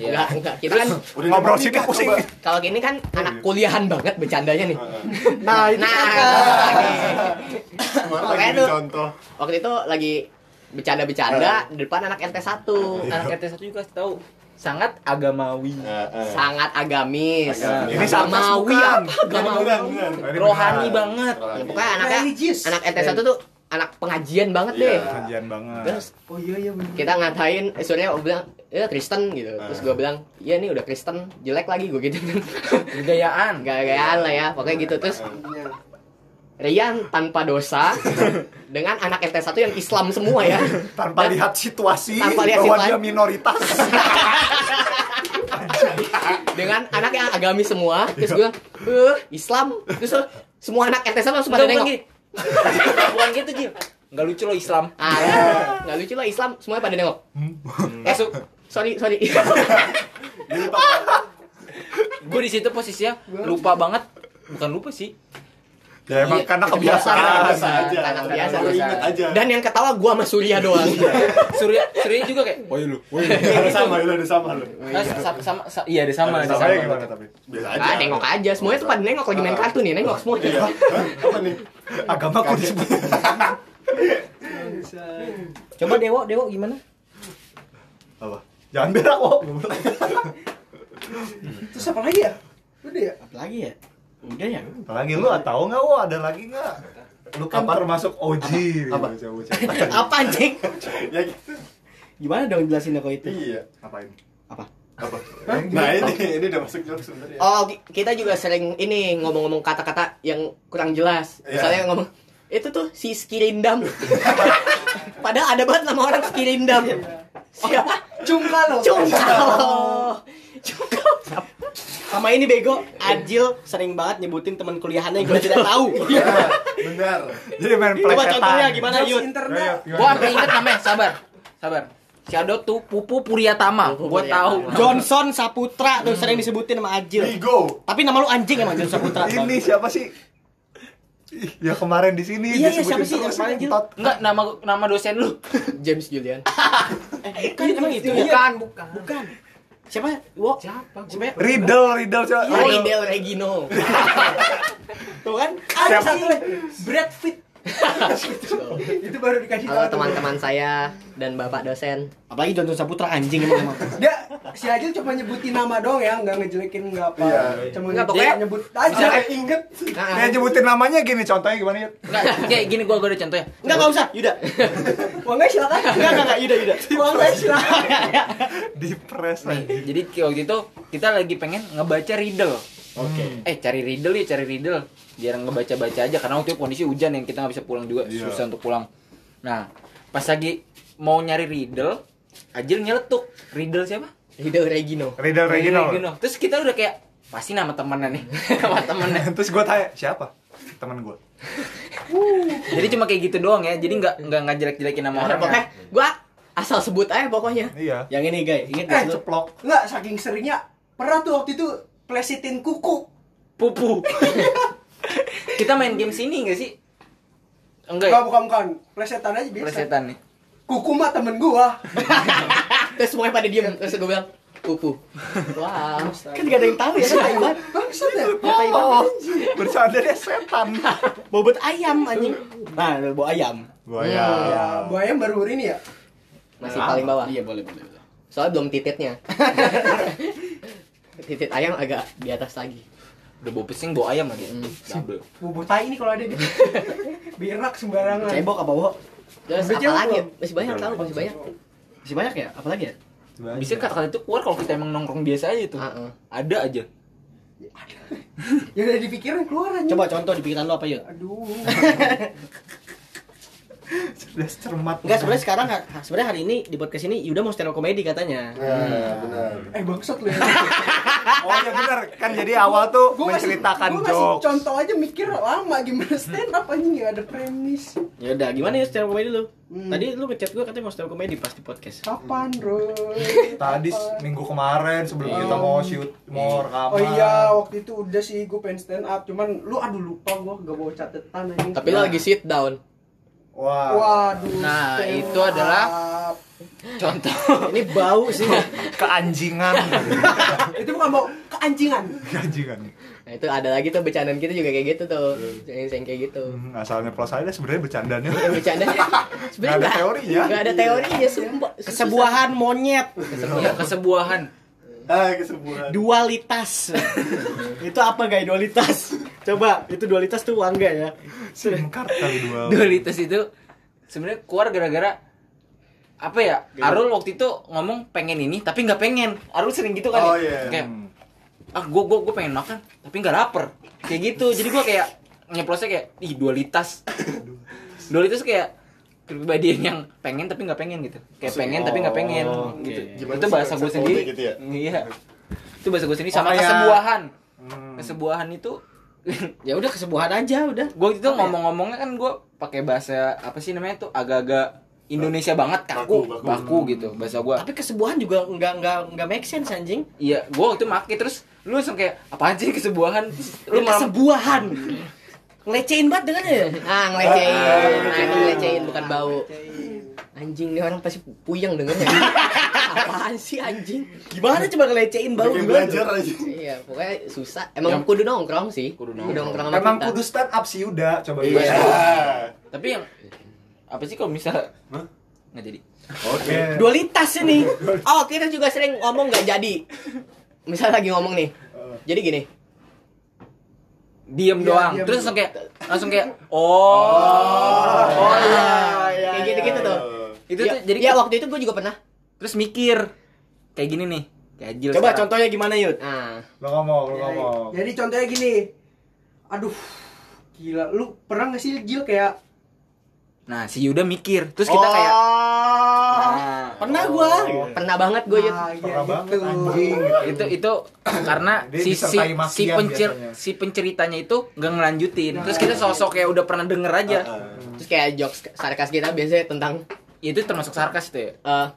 S3: Iya.
S1: nggak nggak kita kan
S6: Udah
S5: Ngobrol
S6: nikah,
S5: sini
S6: coba.
S5: pusing.
S1: kalau gini kan anak kuliahan banget bercandanya
S5: Iya.
S1: nih
S7: Nah, itu
S1: nah nih.
S6: Kemarin
S1: Makanya
S6: lagi di
S1: tuh.
S6: contoh
S1: waktu itu lagi bercanda-bercanda di depan anak RT
S5: Iya.
S1: 1
S3: anak RT satu juga kasih tahu sangat agamawi.
S6: Eh, eh.
S1: Nah, sangat agamis iya.
S5: Iya.
S6: Agamis.
S5: Ini sarkas
S1: Agamawi
S5: bukan. Iya.
S1: apa
S5: Ini
S1: agamawi
S5: beneran, beneran. Ini
S3: iya. Rohani
S5: beneran.
S3: banget.
S1: Ya,
S6: Apalagi.
S1: pokoknya anaknya
S7: religious.
S1: anak RT 1 tuh anak pengajian banget deh
S6: Iya.
S5: Pengajian banget.
S1: terus
S7: Oh iya iya bener.
S1: kita ngatain eh, Surya bilang ya Kristen gitu terus gue bilang iya nih udah Kristen jelek lagi gue gitu
S3: Gayaan.
S1: gaya-gayaan lah ya pokoknya gitu terus
S7: Iya.
S1: Rian tanpa dosa dengan anak RT 1 yang Islam semua ya
S5: tanpa
S1: Dan-
S5: lihat situasi
S1: Tanpa lihat
S5: bahwa
S1: situasi.
S5: dia minoritas
S1: dengan anak yang agamis semua terus gue bilang eh Islam terus semua anak RT 1 langsung pada
S3: Bukan,
S1: nengok
S3: bukan gini. Bukan gitu, Jil. Nggak lucu lo Islam.
S1: Ah, nggak lucu lah Islam, semuanya pada nengok. Eh,
S3: Masuk.
S1: Sorry, sorry.
S3: Gue di situ posisinya lupa banget. Bukan lupa sih.
S5: ya emang
S3: Iya,
S5: karena kebiasaan
S1: Karena
S6: biasa
S1: kebiasaan,
S6: aja.
S1: karena kebiasaan.
S6: Baru inget aja.
S1: Dan yang ketawa gua sama Surya doang.
S3: Surya Surya juga kayak
S5: oh iya lu
S6: Ada sama, lu ada sama lu.
S3: "Ah, sa- sa- sama, sa- iya ada sama ada
S5: samanya
S3: sama.
S5: ya gimana tapi
S6: Biasa aja.
S1: Ah, nengok aja. Semuanya tuh pada nengok lagi main kartu nih, nengok semua.
S6: Iya. Apa nih?
S5: agama aku disebut
S3: Coba Dewo, Dewo gimana?
S5: apa jangan berak kok
S7: Terus apa lagi ya? Udah ya?
S1: Lagi ya? Udah ya?
S5: lagi lu tahu nggak wo ada lagi nggak lu kan termasuk Iya, OG
S6: Apa?
S1: Apa anjing?
S6: Ya gitu.
S7: Gimana dong jelasin kok itu?
S6: Iya.
S5: ngapain
S6: Apa? Nah, ini ini udah masuk jokes sebenarnya.
S1: Oh, ki- kita juga sering ini ngomong-ngomong kata-kata yang kurang jelas.
S6: Iya.
S1: Misalnya ngomong, itu tuh si Skirindam. Padahal ada banget nama orang Skirindam. Siapa?
S7: Cungka lo.
S1: Cungkal. Cungkal.
S7: Sama ini bego, Ajil sering banget nyebutin teman kuliahannya yang gue tidak tahu.
S6: Nah, Benar.
S5: jadi main
S7: Coba contohnya
S5: plesetan
S7: gimana Yud?
S2: Iya,
S7: Internet.
S3: Gua sampai inget namanya, sabar. Sabar. Shadow tuh Pupu Puriatama.
S1: Pupu
S3: Gua
S1: Puryatama.
S3: tahu.
S7: Johnson Saputra tuh sering disebutin sama Ajil.
S6: Bigo.
S7: Tapi nama lu anjing emang Johnson Saputra.
S5: ini siapa sih Ih, ya kemarin di sini
S7: Iya, iya,
S5: disebutin
S7: siapa sih?
S5: terus,
S7: Yang kemarin, Jil?
S5: entot.
S3: Enggak nama nama dosen lu.
S1: James Julian.
S7: Eh,
S4: kan
S7: bukan emang itu
S2: Iya.
S7: ya?
S3: Bukan, bukan.
S7: Bukan. Siapa? Wo?
S3: Siapa?
S7: Siapa? ya?
S5: Riddle Riddle coba
S7: Iya,
S1: Ari Del Regino.
S7: Tuh kan? Ada satu lagi. Brad Pitt. itu baru dikasih
S1: Halo teman-teman saya dan Bapak dosen.
S4: Apalagi Johnson Saputra anjing emang emang.
S7: Dia si Ajil cuma nyebutin nama doang ya, nggak ngejelekin nggak apa.
S6: Iya.
S7: Cuma
S1: Nggak, pokoknya-
S7: nyebut
S6: Jangan
S7: aja.
S6: inget.
S5: dia nyebutin Nah, namanya gini contohnya gimana Yud?
S3: Enggak, kayak gini gua gua ada contohnya.
S4: Enggak enggak usah, Yuda.
S7: Wangga silakan.
S4: Enggak enggak enggak Yuda Yuda.
S7: Wangga silakan.
S5: di press aja
S3: Nih, jadi kayak waktu itu kita lagi pengen ngebaca riddle.
S6: Oke.
S3: Eh cari riddle ya cari riddle. Jarang ngebaca-baca aja karena waktu itu kondisi hujan yang kita nggak bisa pulang juga
S6: Iya.
S3: susah untuk pulang. Nah pas lagi mau nyari riddle, Ajil nyeletuk riddle siapa?
S1: Hideo Regino.
S5: Riddle Reginald
S3: Terus kita udah kayak pasti nama temennya nih, nama temennya.
S5: terus gue tanya siapa teman gue
S3: Jadi cuma kayak gitu doang ya. Jadi nggak nggak nggak jelek-jelekin nama
S1: Orang pokoknya
S4: Eh,
S3: orangnya.
S1: gua asal sebut aja pokoknya.
S5: iya
S4: Yang ini guys, inget
S7: Eh,
S4: gak lu?
S5: ceplok
S7: Nggak saking seringnya pernah tuh waktu itu plesitin kuku.
S3: Pupu. Kita main game sini gak sih? Enggak. ya?
S7: Enggak, bukan bukan. Plesetan aja biasa.
S3: Plesetan nih.
S7: Kuku mah temen gua.
S1: Terus semuanya pada diem. Terus gue bilang, pupu. Wow.
S4: Kan gak ada yang tahu ya kan
S2: Iya.
S4: Taiwan.
S7: Bangsat ya.
S4: Oh,
S5: Bercandanya setan.
S4: bobot ayam anjing. Nah, bobot ayam.
S5: Buaya.
S7: Ya, buaya baru ini ya.
S1: Masih paling bawah.
S4: Iya, boleh, boleh. boleh.
S1: Soalnya belum tititnya. Titit ayam agak di atas lagi.
S3: Udah bau pesing, bau ayam lagi. Double.
S7: Bobo tai ini kalau ada dia. Berak sembarangan.
S4: Cebok apa bohong?
S1: Terus
S7: Udah
S1: apa
S7: jauh
S1: lagi?
S7: belum?
S1: Masih banyak tahu, masih banyak.
S4: Masih banyak ya? Apalagi ya?
S3: Bisa kata-kata itu keluar kalau kita emang nongkrong biasa aja tuh.
S1: Heeh.
S3: Ada aja.
S7: Ya udah dipikirin keluar aja.
S4: Coba contoh di pikiran lo apa ya?
S7: Aduh. kan?
S5: Sudah cermat.
S4: Enggak, sebenarnya sekarang ha- sebenarnya hari ini di podcast ini Yuda mau stand up comedy katanya.
S6: Nah,
S1: Hmm.
S6: benar.
S7: Eh bangsat lu ya.
S5: Oh iya benar. Kan jadi awal tuh
S7: Gua masih-
S5: menceritakan
S7: gua masih
S5: jokes.
S7: contoh aja mikir lama gimana stand up anjing nggak ada premis.
S4: Ya udah, gimana ya stand up comedy lu?
S7: Hmm.
S4: Tadi lu ngechat gua katanya mau stand up comedy pas di podcast.
S7: Kapan, Roy?
S5: Tadi s- minggu kemarin sebelum kita mau shoot mau rekaman.
S7: Oh iya, waktu itu udah sih gue pengen stand up, cuman lu aduh lupa gua gak bawa catatan anjing.
S1: Tapi
S5: Iya.
S1: lo lagi sit down.
S5: Wah.
S7: Waduh.
S3: Nah,
S7: stand
S3: itu adalah-
S7: up.
S3: Contoh.
S4: Ini bau sih.
S5: Keanjingan.
S7: itu bukan bawa keanjingan.
S5: Keanjingan.
S1: Nah itu ada lagi tuh bercandaan kita juga kayak gitu tuh. Yang yang kayak gitu.
S5: Hmm, asalnya plus saya sebenarnya bercandanya.
S1: Bercandanya sebenarnya
S5: Nggak ada teorinya.
S1: Gak ada
S4: ya,
S1: teorinya sumpah.
S4: Kesebuahan monyet,
S3: Ya, kesebuahan.
S6: Ah, kesembuhan.
S4: dualitas. itu apa guys dualitas? Coba, itu dualitas tuh Wangga ya.
S5: SIM card kali dua.
S6: Oh.
S3: Dualitas itu sebenarnya keluar gara-gara apa ya?
S6: Iya.
S3: Arul waktu itu ngomong pengen ini tapi nggak pengen. Arul sering gitu kan.
S6: Oh,
S3: ya?
S6: iya.
S3: Kayak
S5: Hmm.
S3: ah gue gue gue pengen makan tapi nggak lapar kayak gitu jadi gue kayak nyeplosnya kayak ih dualitas dualitas kayak kepribadian yang pengen tapi nggak pengen gitu kayak pengen tapi nggak pengen gitu
S6: Oh, Gimana
S3: itu
S6: sih
S3: bahasa
S6: bahasa
S3: gue sendiri
S6: Polda gitu ya?
S3: iya itu bahasa gue sendiri sama
S5: Oh, kayak-
S3: kesebuahan
S5: Hmm.
S3: kesebuahan itu
S4: Ya udah kesebuahan aja udah.
S3: gue itu ngomong-ngomongnya kan gue pakai bahasa apa sih namanya tuh agak-agak Indonesia banget kaku
S6: Baku,
S3: baku,
S6: baku.
S3: gitu bahasa gue
S4: Tapi kesebuahan juga nggak nggak nggak make sense anjing.
S3: iya gue waktu itu make terus lu langsung kayak apaan sih kesebuahan Terus
S4: Lu
S3: lu malah
S4: kesebuahan. Ngelecehin banget dengan ya.
S1: Ah ngelecehin, nah, itu ngelecehin bukan bau. Anjing nih orang pasti puyeng dengernya. Apaan sih anjing?
S4: Gimana coba ngelecehin bau
S6: Kayak
S4: gimana?
S6: belajar aja.
S1: Iya, pokoknya susah. Emang kudu nongkrong sih.
S3: Kudu
S1: Kudu
S3: nongkrong.
S1: nongkrong, sama
S5: Emang
S1: kita.
S5: kudu stand up sih udah coba
S6: Iya.
S3: Tapi yang apa sih kalau misalnya nggak jadi?
S5: Oke.
S4: Dualitas ini.
S1: Oh, kita juga sering ngomong nggak jadi. Misal lagi ngomong nih. Jadi gini.
S3: Diem doang.
S7: diem.
S3: Terus langsung kayak langsung kayak oh. Oh, iya.
S1: kayak gitu-gitu tuh.
S3: Itu
S1: ya,
S3: tuh jadi
S1: ya, waktu itu gue juga pernah.
S3: terus mikir kayak gini nih. Kayak Jil
S4: Coba
S3: sekarang.
S4: contohnya gimana Yud?
S1: Nah,
S5: Lo ngomong, lo
S2: Iya,
S7: Ya,
S5: ngomong.
S7: Jadi contohnya gini. Aduh. Gila, lu pernah gak sih Gil kayak
S3: Nah, si Yuda mikir. Terus kita kayak nah,
S4: Pernah gua.
S1: Oh, pernah banget gue Yud.
S7: ah,
S2: Iya,
S5: Parah
S7: ya
S5: banget
S7: gitu.
S5: anjing.
S3: itu itu karena
S5: Dia
S3: si si,
S5: disertai
S3: si
S5: makian
S3: pencer
S5: biasanya.
S3: si penceritanya itu nggak ngelanjutin. Terus kita sosok kayak udah pernah denger aja.
S1: Terus kayak jokes sarkas kita biasanya tentang
S3: Itu termasuk sarkas itu ya.
S1: eh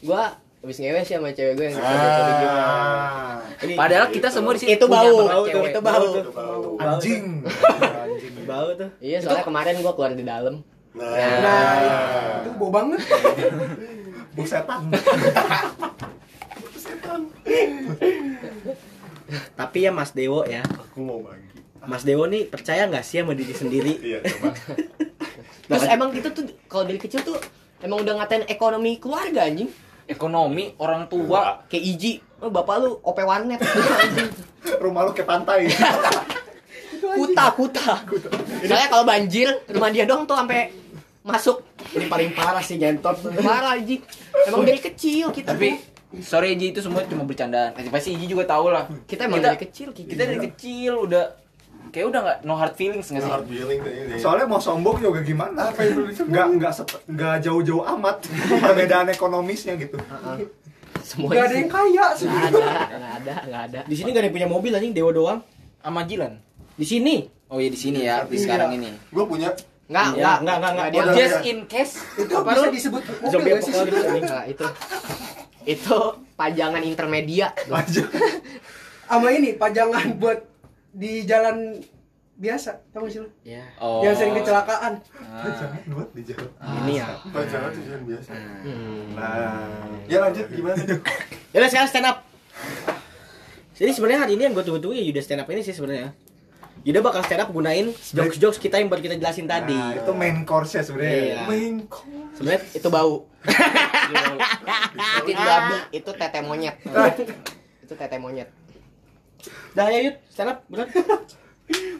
S1: gue habis ngewe sih sama cewek gue yang suka gitu
S6: Nah.
S5: Ah,
S3: Padahal kita semua di sini
S1: Itu
S3: punya
S1: bau,
S3: banget
S1: bau tuh,
S3: cewek.
S1: itu bau.
S6: Itu bau.
S5: anjing. Anjing.
S4: Bau tuh.
S1: Iya, soalnya kemarin gue keluar di dalam.
S6: Nah,
S5: Iya.
S7: Nah, itu bau banget.
S5: Bu setan.
S4: Tapi ya Mas Dewo ya.
S6: aku mau bagi.
S4: Mas Dewo nih percaya nggak sih sama diri sendiri?
S6: Iya, coba.
S1: Terus emang
S4: gitu
S1: kita tuh kalau dari kecil tuh emang udah ngatain ekonomi keluarga anjing.
S3: Ekonomi orang tua
S1: Kayak Iji, oh, bapak lu OP warnet.
S5: Rumah lu kayak pantai.
S1: kuta, kuta. Soalnya kalau banjir, rumah dia dong tuh sampai masuk.
S4: Ini paling parah sih ngentot.
S1: Parah Iji. Emang dari kecil kita
S3: tapi
S1: tuh.
S3: sorry Ji itu semua cuma bercandaan Eh, pasti Ji juga tahu lah
S1: kita emang dari kecil kayak
S3: kita dari kecil udah kayak udah nggak no hard feelings nggak sih
S6: Hard feeling deh ini.
S5: Soalnya mau sombong juga gimana? Apa yang Nggak nggak sep- nggak jauh-jauh amat perbedaan ekonomisnya gitu.
S4: Ah.
S1: semua
S7: Gak ada yang kaya sih.
S1: nggak ada nggak ada nggak ada
S4: Di sini gak ada yang punya mobil anjing Dewo doang.
S3: sama Jilan
S4: Di sini.
S3: oh iya di sini ya di sekarang ini
S6: Gue punya
S1: nggak
S4: Iya,
S1: nggak
S4: nggak, nggak, nggak.
S1: dia
S6: Udah.
S3: just in case
S7: Itu
S3: apa
S7: bisa
S3: lu
S7: disebut mobil ya,
S4: Zombie
S7: gak sih?
S4: apocalypse anjing.
S1: nggak itu itu pajangan intermedia
S5: Aja.
S2: sama ini pajangan buat di jalan biasa tau gak sih lu
S1: ya
S3: Oh.
S2: Iya, yang sering kecelakaan
S3: Ah.
S6: buat di jalan
S1: ini ya
S6: Pak jalan tuh jalan biasa
S1: Hmm.
S6: nah ya lanjut gimana
S5: kan
S4: Yaudah Ya sekarang stand up. Jadi sebenarnya hari ini yang gue tunggu-tunggu ya Yuda stand up ini sih sebenarnya. Yuda bakal stand up gunain jokes-jokes kita yang baru kita jelasin tadi.
S5: Nah, itu main course ya
S4: Iya.
S5: sebenarnya. Main course.
S1: sebenarnya itu bau itu
S4: Ah.
S1: babi itu tete monyet itu tete monyet
S4: Dah ya Yud, stand up bener.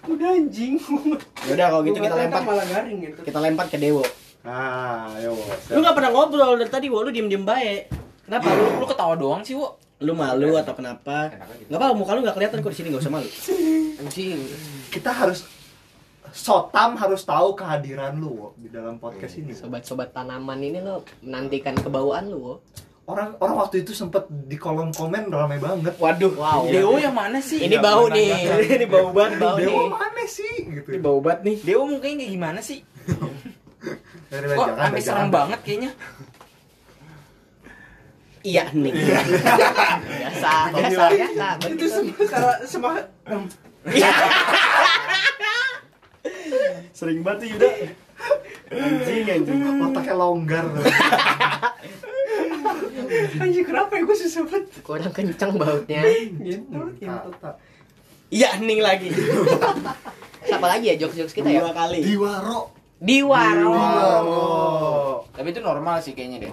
S2: udah anjing
S4: Yaudah kalau gitu
S2: Gua
S4: kita
S2: kata
S4: lempar
S2: malah garing gitu
S4: kita lempar ke Dewo.
S6: ah ayo
S4: Lu gak pernah ngobrol dari tadi, Wo. Lu diem-diem bae. Kenapa lu?
S3: Lu ketawa doang sih, Wo.
S4: Lu malu atau kenapa? Gak apa-apa, muka lu gak kelihatan kok di sini, gak usah malu.
S1: anjing
S5: Kita harus Sotam harus tahu kehadiran lu Wo, di dalam podcast
S4: Iya,
S5: ini.
S1: sobat-sobat tanaman ini lo menantikan kebauan lu Wo.
S5: Orang orang waktu itu sempet di kolom komen ramai banget.
S4: Waduh,
S1: wow
S3: Dewo yang mana sih?
S1: ini bau
S4: Iya,
S1: nih
S4: ini bau banget, bau nih.
S5: Dewa "Oh, mana sih gitu.
S4: Ini bau banget nih.
S3: Dewo mukanya kayak gimana sih?
S5: Dari kan.
S3: Kok sampai serem banget kayaknya.
S4: Iya nih.
S1: biasa
S4: ya,
S1: biasa biasa
S2: itu semua karena semua
S4: Sering banget tuh Yuda.
S5: Anjing anjing. Otaknya longgar. tuh.
S4: Iya.
S2: anjing kenapa ya gue susah banget
S1: kurang kencang bautnya
S2: gitu
S1: Nah.
S2: gitu
S5: Tata.
S4: Iya nih lagi.
S1: siapa lagi ya jokes-jokes kita ya
S4: Dua kali.
S5: Diwaro.
S1: Diwaro
S3: Tapi itu normal sih kayaknya deh.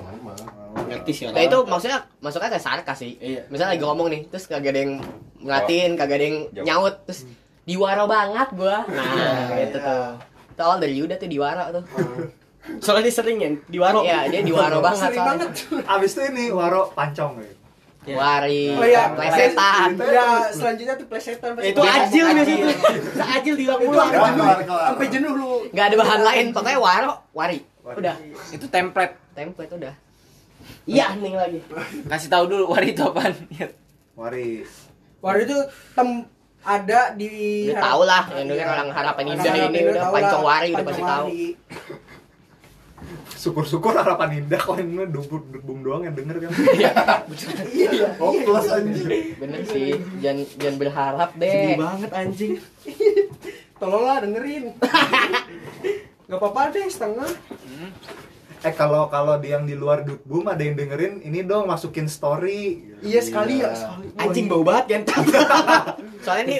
S4: Ngerti sih
S1: nah itu maksudnya maksudnya kayak sarkas sih
S3: Iya.
S1: misalnya lagi ngomong nih terus kagak ada yang ngeliatin kagak ada yang nyaut terus diwaro banget gua nah gitu tuh itu awal dari Yuda tuh diwaro tuh
S4: Soalnya dia sering ya, di warung.
S1: Iya, dia diwaro banget
S2: sering banget
S1: soalnya.
S5: Abis itu ini Waro pancong gitu.
S1: Wari,
S2: Oh
S1: Nah,
S2: iya,
S1: plesetan.
S2: ya selanjutnya tuh plesetan pasti.
S4: Itu
S2: Dia
S4: ajil
S2: ngomong
S4: biasa itu. Ajil diulang-ulang.
S2: Itu ajil.
S6: kelar kelar
S2: sampai jenuh lu
S1: Gak ada bahan lain, pokoknya waro, wari. Udah,
S3: Itu template.
S1: template udah.
S4: Iya nih lagi.
S3: Kasih tahu dulu wari itu apaan. Ya.
S5: Wari.
S2: waktu itu tem ada di
S1: Udah Ya, tau lah, yang denger orang harapan indah ini udah pancong wari udah pasti tahu.
S5: Syukur-syukur harapan indah kalau ini mah dubur dubung doang yang denger kan.
S4: Iya.
S5: Hopeless anjir.
S1: Bener sih, jangan jangan berharap
S4: Sedih
S1: deh.
S4: banget anjing.
S2: tolonglah dengerin nggak apa-apa deh setengah
S5: Eh kalau kalau di yang di luar dubum ada yang dengerin ini dong masukin story.
S2: iya sekali ya sekali
S4: Anjing bau banget kan.
S1: iya. Soalnya nih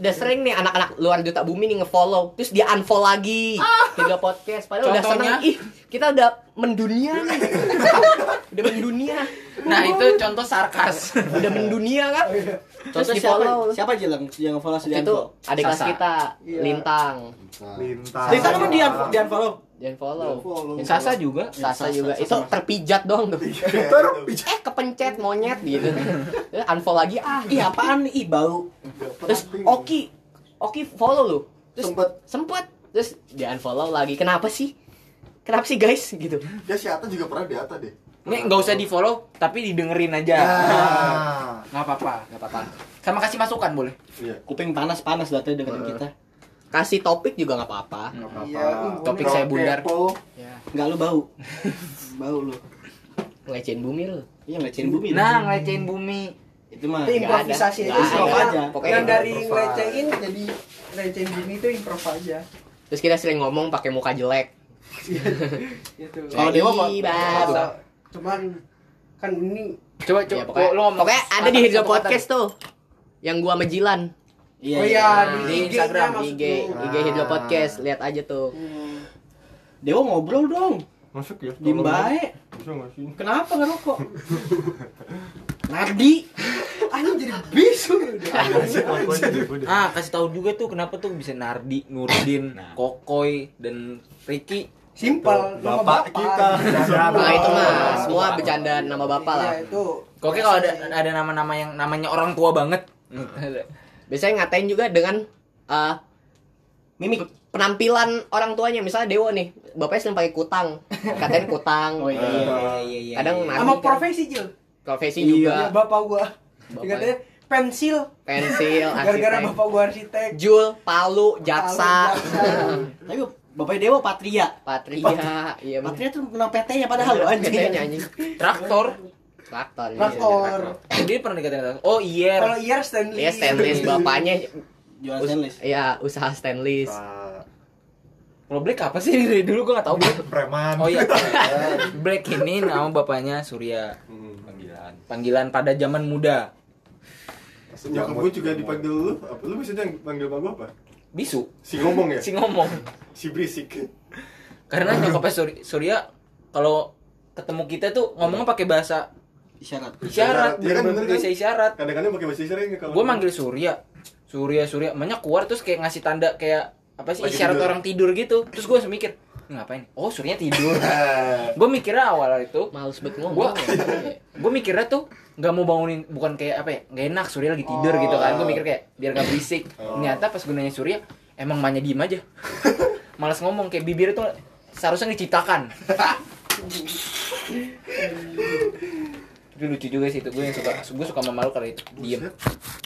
S1: udah sering nih anak-anak luar duta bumi nih ngefollow terus dia unfollow lagi
S4: Oh.
S1: tiga podcast padahal udah
S3: Contohnya?
S1: seneng ih kita udah mendunia nih udah mendunia
S3: Nah, itu contoh sarkas.
S1: udah mendunia kan
S4: Terus
S1: Terus
S4: di
S1: siapa-
S4: follow. Siapa aja yang yang follow
S1: Waktu
S4: sudah
S1: itu
S4: itu?
S1: adik kelas
S3: Sasa.
S1: kita
S2: Iya.
S1: lintang
S6: Nah.
S5: Lintang.
S4: Cerita kan dia dia follow.
S1: jangan follow
S3: Sasa juga.
S1: Sasa
S4: Sasa,
S1: juga
S4: Sasa
S1: itu
S4: sama-
S1: terpijat doang tuh
S5: Terus pijat.
S1: eh kepencet monyet gitu Terus unfollow lagi ah
S4: Ih apaan nih? Kan Ih bau.
S1: terus Oki Oki follow lu terus
S6: sempet
S1: sempet terus di unfollow lagi kenapa sih kenapa sih guys gitu
S6: ya si Ata juga pernah di Ata deh
S3: Nih nggak usah di follow, tapi didengerin aja.
S5: Ah.
S3: Nggak apa-apa, nggak apa-apa. Sama kasih masukan boleh.
S6: iya
S4: Kuping panas-panas datanya dengerin kita.
S1: kasih topik juga nggak apa-apa
S3: Hmm.
S2: iya
S3: Topik saya bundar.
S6: Kepo.
S4: Enggak lu bau. bau lu.
S1: ngelecehin bumi lu
S4: Iya ngecehin bumi.
S3: Nah, ngelecehin bumi.
S4: itu mah.
S2: itu improvisasi
S1: Nggak ada.
S2: aja sih
S4: Improv aja.
S1: Pokoknya
S2: yang dari
S5: improv.
S2: ngelecehin jadi ngelecehin gini itu improv aja
S1: terus kita sering ngomong pakai muka jelek
S2: gitu
S4: Kalau Dewa Iya, kok-
S1: Ih, bab.
S2: Masa- cuman kan ini
S3: Coba coba
S1: Ya, pokoknya,
S3: lo ngomong
S1: pokoknya ada di
S3: kata-
S1: Hidro
S3: satu kata.
S1: Podcast tuh yang gua mejilan
S2: oh
S3: Ah.
S2: iya
S1: Nah,
S2: di
S1: di
S2: IG-nya
S3: Instagram,
S2: maksud
S1: IG
S2: lu.
S1: IG Hidro Podcast lihat aja tuh
S2: Hmm.
S4: Dewa ngobrol dong.
S6: masuk ya
S4: Diem bae. Kenapa nggak rokok? Nardi.
S2: Anjing jadi bisu udah.
S4: Iya,
S3: Ah, kasih tahu juga tuh kenapa tuh bisa Nardi, Nurdin, Kokoy dan Ricky.
S2: Simpel nama
S5: Bapak kita.
S1: nah itu mah
S2: Ah.
S1: semua bercanda nama bapak lah
S2: Iya, itu.
S3: Kokoy kalau ada ada nama-nama yang namanya orang tua banget.
S1: biasanya ngatain juga dengan eh mimik penampilan orang tuanya misalnya Dewo nih bapaknya sering pakai kutang katain kutang
S3: iya iya.
S1: kadang
S3: iya.
S1: Nardi
S2: sama
S1: kan.
S2: profesi Jil.
S1: profesi
S2: Iya,
S1: juga
S2: bapak gua.
S1: Bapak.
S2: Katanya pensil
S1: pensil
S2: gara-gara
S1: arsitek Iya,
S2: bapak gua arsitek.
S1: Jul Palu Jaksa
S2: Palu, jaksa.
S4: Tapi bapaknya Dewa Patria.
S1: Patria iya bener.
S4: Patria tuh menang PT-nya padahal lo Iya, anjing.
S1: Katanya anjing
S3: traktor. Eh,
S1: Traktor. iya,
S7: Traktor.
S1: traktor.
S3: Dia pernah dikatain traktor. Oh iya.
S7: Kalau IR stainless.
S1: Iya stainless bapaknya
S4: Jualan
S1: us-
S4: stainless.
S1: Iya, usaha stainless.
S6: Pak.
S3: Kalau Black apa sih dari dulu gua gak tahu.
S5: preman
S3: Oh iya. Black ini nama bapaknya Surya.
S6: Hmm.
S3: Panggilan. Panggilan pada zaman muda.
S6: Nyokap gue juga dipanggil lu. Apa lu bisa yang panggil sama gue apa?
S3: Bisu.
S6: Si ngomong ya?
S3: Si ngomong.
S6: Si berisik.
S3: Karena nyokapnya Surya, Surya kalau ketemu kita tuh ngomongnya pakai bahasa
S4: isyarat
S3: isyarat.
S6: Iya kan,
S3: Bener-bener
S6: bener kan?
S3: bahasa isyarat.
S6: Kadang-kadang pakai bahasa Indonesia kalau
S3: Gue manggil Surya. Surya, Surya. Banyak keluar terus kayak ngasih tanda kayak apa sih
S6: Lagi
S3: isyarat
S6: tidur.
S3: orang tidur gitu. Terus gue mikir, "Ini ngapain? Oh, Surya tidur.
S6: Ah,
S3: gue mikirnya awal itu
S1: Males banget ngomong.
S3: Gua-
S1: ya.
S3: gue mikirnya tuh nggak mau bangunin bukan kayak apa ya nggak enak Surya lagi tidur
S6: Oh.
S3: gitu kan gue mikir kayak biar nggak berisik
S6: Oh.
S3: ternyata pas gunanya Surya emang manya diem aja malas ngomong kayak bibirnya tuh seharusnya diciptakan tapi lucu juga sih itu gue yang suka gue suka sama malu karena itu diem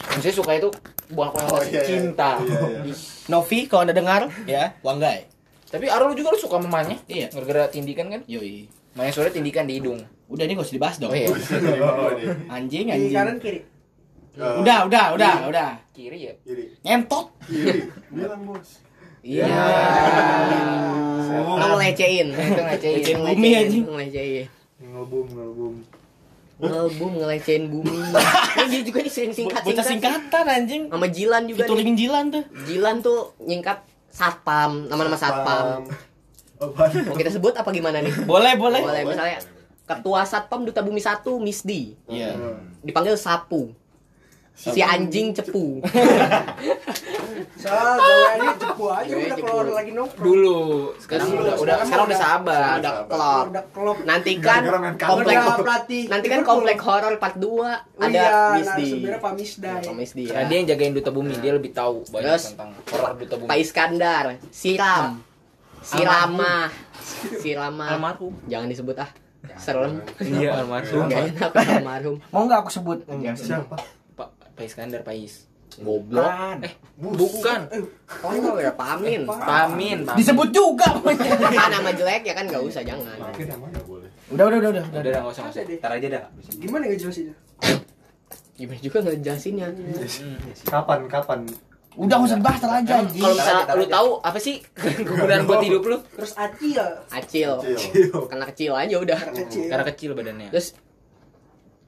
S3: maksudnya suka itu bukan kurang
S6: Oh, iya, iya.
S3: cinta
S6: Iya, iya.
S4: Novi kalau anda dengar ya wanggai
S3: tapi Arul juga lu suka sama Manya
S4: Iya.
S3: gara-gara tindikan kan
S4: yoi
S3: Manya Surya tindikan di hidung
S4: udah ini gak usah dibahas dong
S3: oh iya
S6: Dari bawah nih.
S4: anjing
S2: Iya,
S7: Di kanan
S4: anjing
S7: kiri.
S6: Eh,
S4: udah udah udah
S3: Iya.
S4: udah
S3: kiri ya
S6: Kiri.
S4: nyentot
S6: Kiri. Bilang bos.
S1: Iya. Lo ngelecehin.
S3: itu ngecein
S1: Ngelecehin
S4: Bumi,
S1: bumi
S4: anjing.
S1: Ngelecehin.
S5: ngelbum ngelbum
S1: Ngelbum ngelecehin bumi. Ini dia juga nih sering singkat
S4: bocah singkatan anjing
S1: Sama Jilan juga nih.
S4: featuring jilan tuh
S1: Jilan tuh nyingkat satpam, nama-nama satpam.
S5: apaan
S1: Mau kita sebut apa gimana nih?
S4: boleh boleh
S1: Boleh misalnya Ketua Satpam Duta Bumi 1 Misdi
S4: iya
S1: dipanggil Sapu. Si anjing cepu.
S7: Soal gawaannya cepu aja
S1: Iya,
S7: udah
S1: cepu.
S7: keluar lagi nongkrong.
S3: dulu sekarang
S1: Dulu,
S3: udah udah
S7: sekarang
S3: sekarang udah
S7: udah-
S3: sabar
S1: Ada
S7: Keluar,
S1: klop.
S7: Udah kelop.
S1: Nanti kan
S5: Gara-gara main kamar
S1: komplek
S7: Udah pelatih.
S1: nanti kan komplek horor part 2
S2: Oh
S7: ada
S1: ada
S7: iya,
S1: Misdi.
S7: narasumbernya Pak Misda.
S1: Sama Misdi
S3: Karena
S1: ya.
S3: Nah, dia yang jagain duta bumi, dia lebih tahu banyak
S1: Terus,
S3: tentang horor duta bumi.
S1: Pak Iskandar, siram. Siramah. Siramah.
S3: almarhum.
S1: Jangan disebut ah. Serem.
S3: Iya, almarhum.
S1: Enggak enak almarhum.
S4: mau nggak aku sebut
S5: siapa
S3: Pak Pak Iskandar, Pais.
S1: Goblok.
S3: Eh, bukan.
S1: Konyol
S3: kan
S1: ya pamin.
S3: Pamin, Pamin.
S4: disebut juga
S1: Ah, nama jelek ya kan enggak usah jangan.
S6: Nggak boleh.
S4: udah udah udah udah
S3: Udah udah enggak usah.
S7: Masa deh.
S3: Entar aja dah.
S7: Gimana enggak jelasin?
S1: Gimana juga ngejelasinnya.
S5: kapan kapan
S4: udah nggak usah dibahas ntar aja
S3: Emang
S4: anjing
S3: Kalau misalnya lu tahu apa sih kegunaan buat hidup lu?
S7: Terus Aci ya
S1: Acil.
S3: Iya.
S6: Kecil.
S1: Karena kecil aja udah.
S7: kecil.
S2: Iya.
S3: Karena kecil badannya.
S1: Terus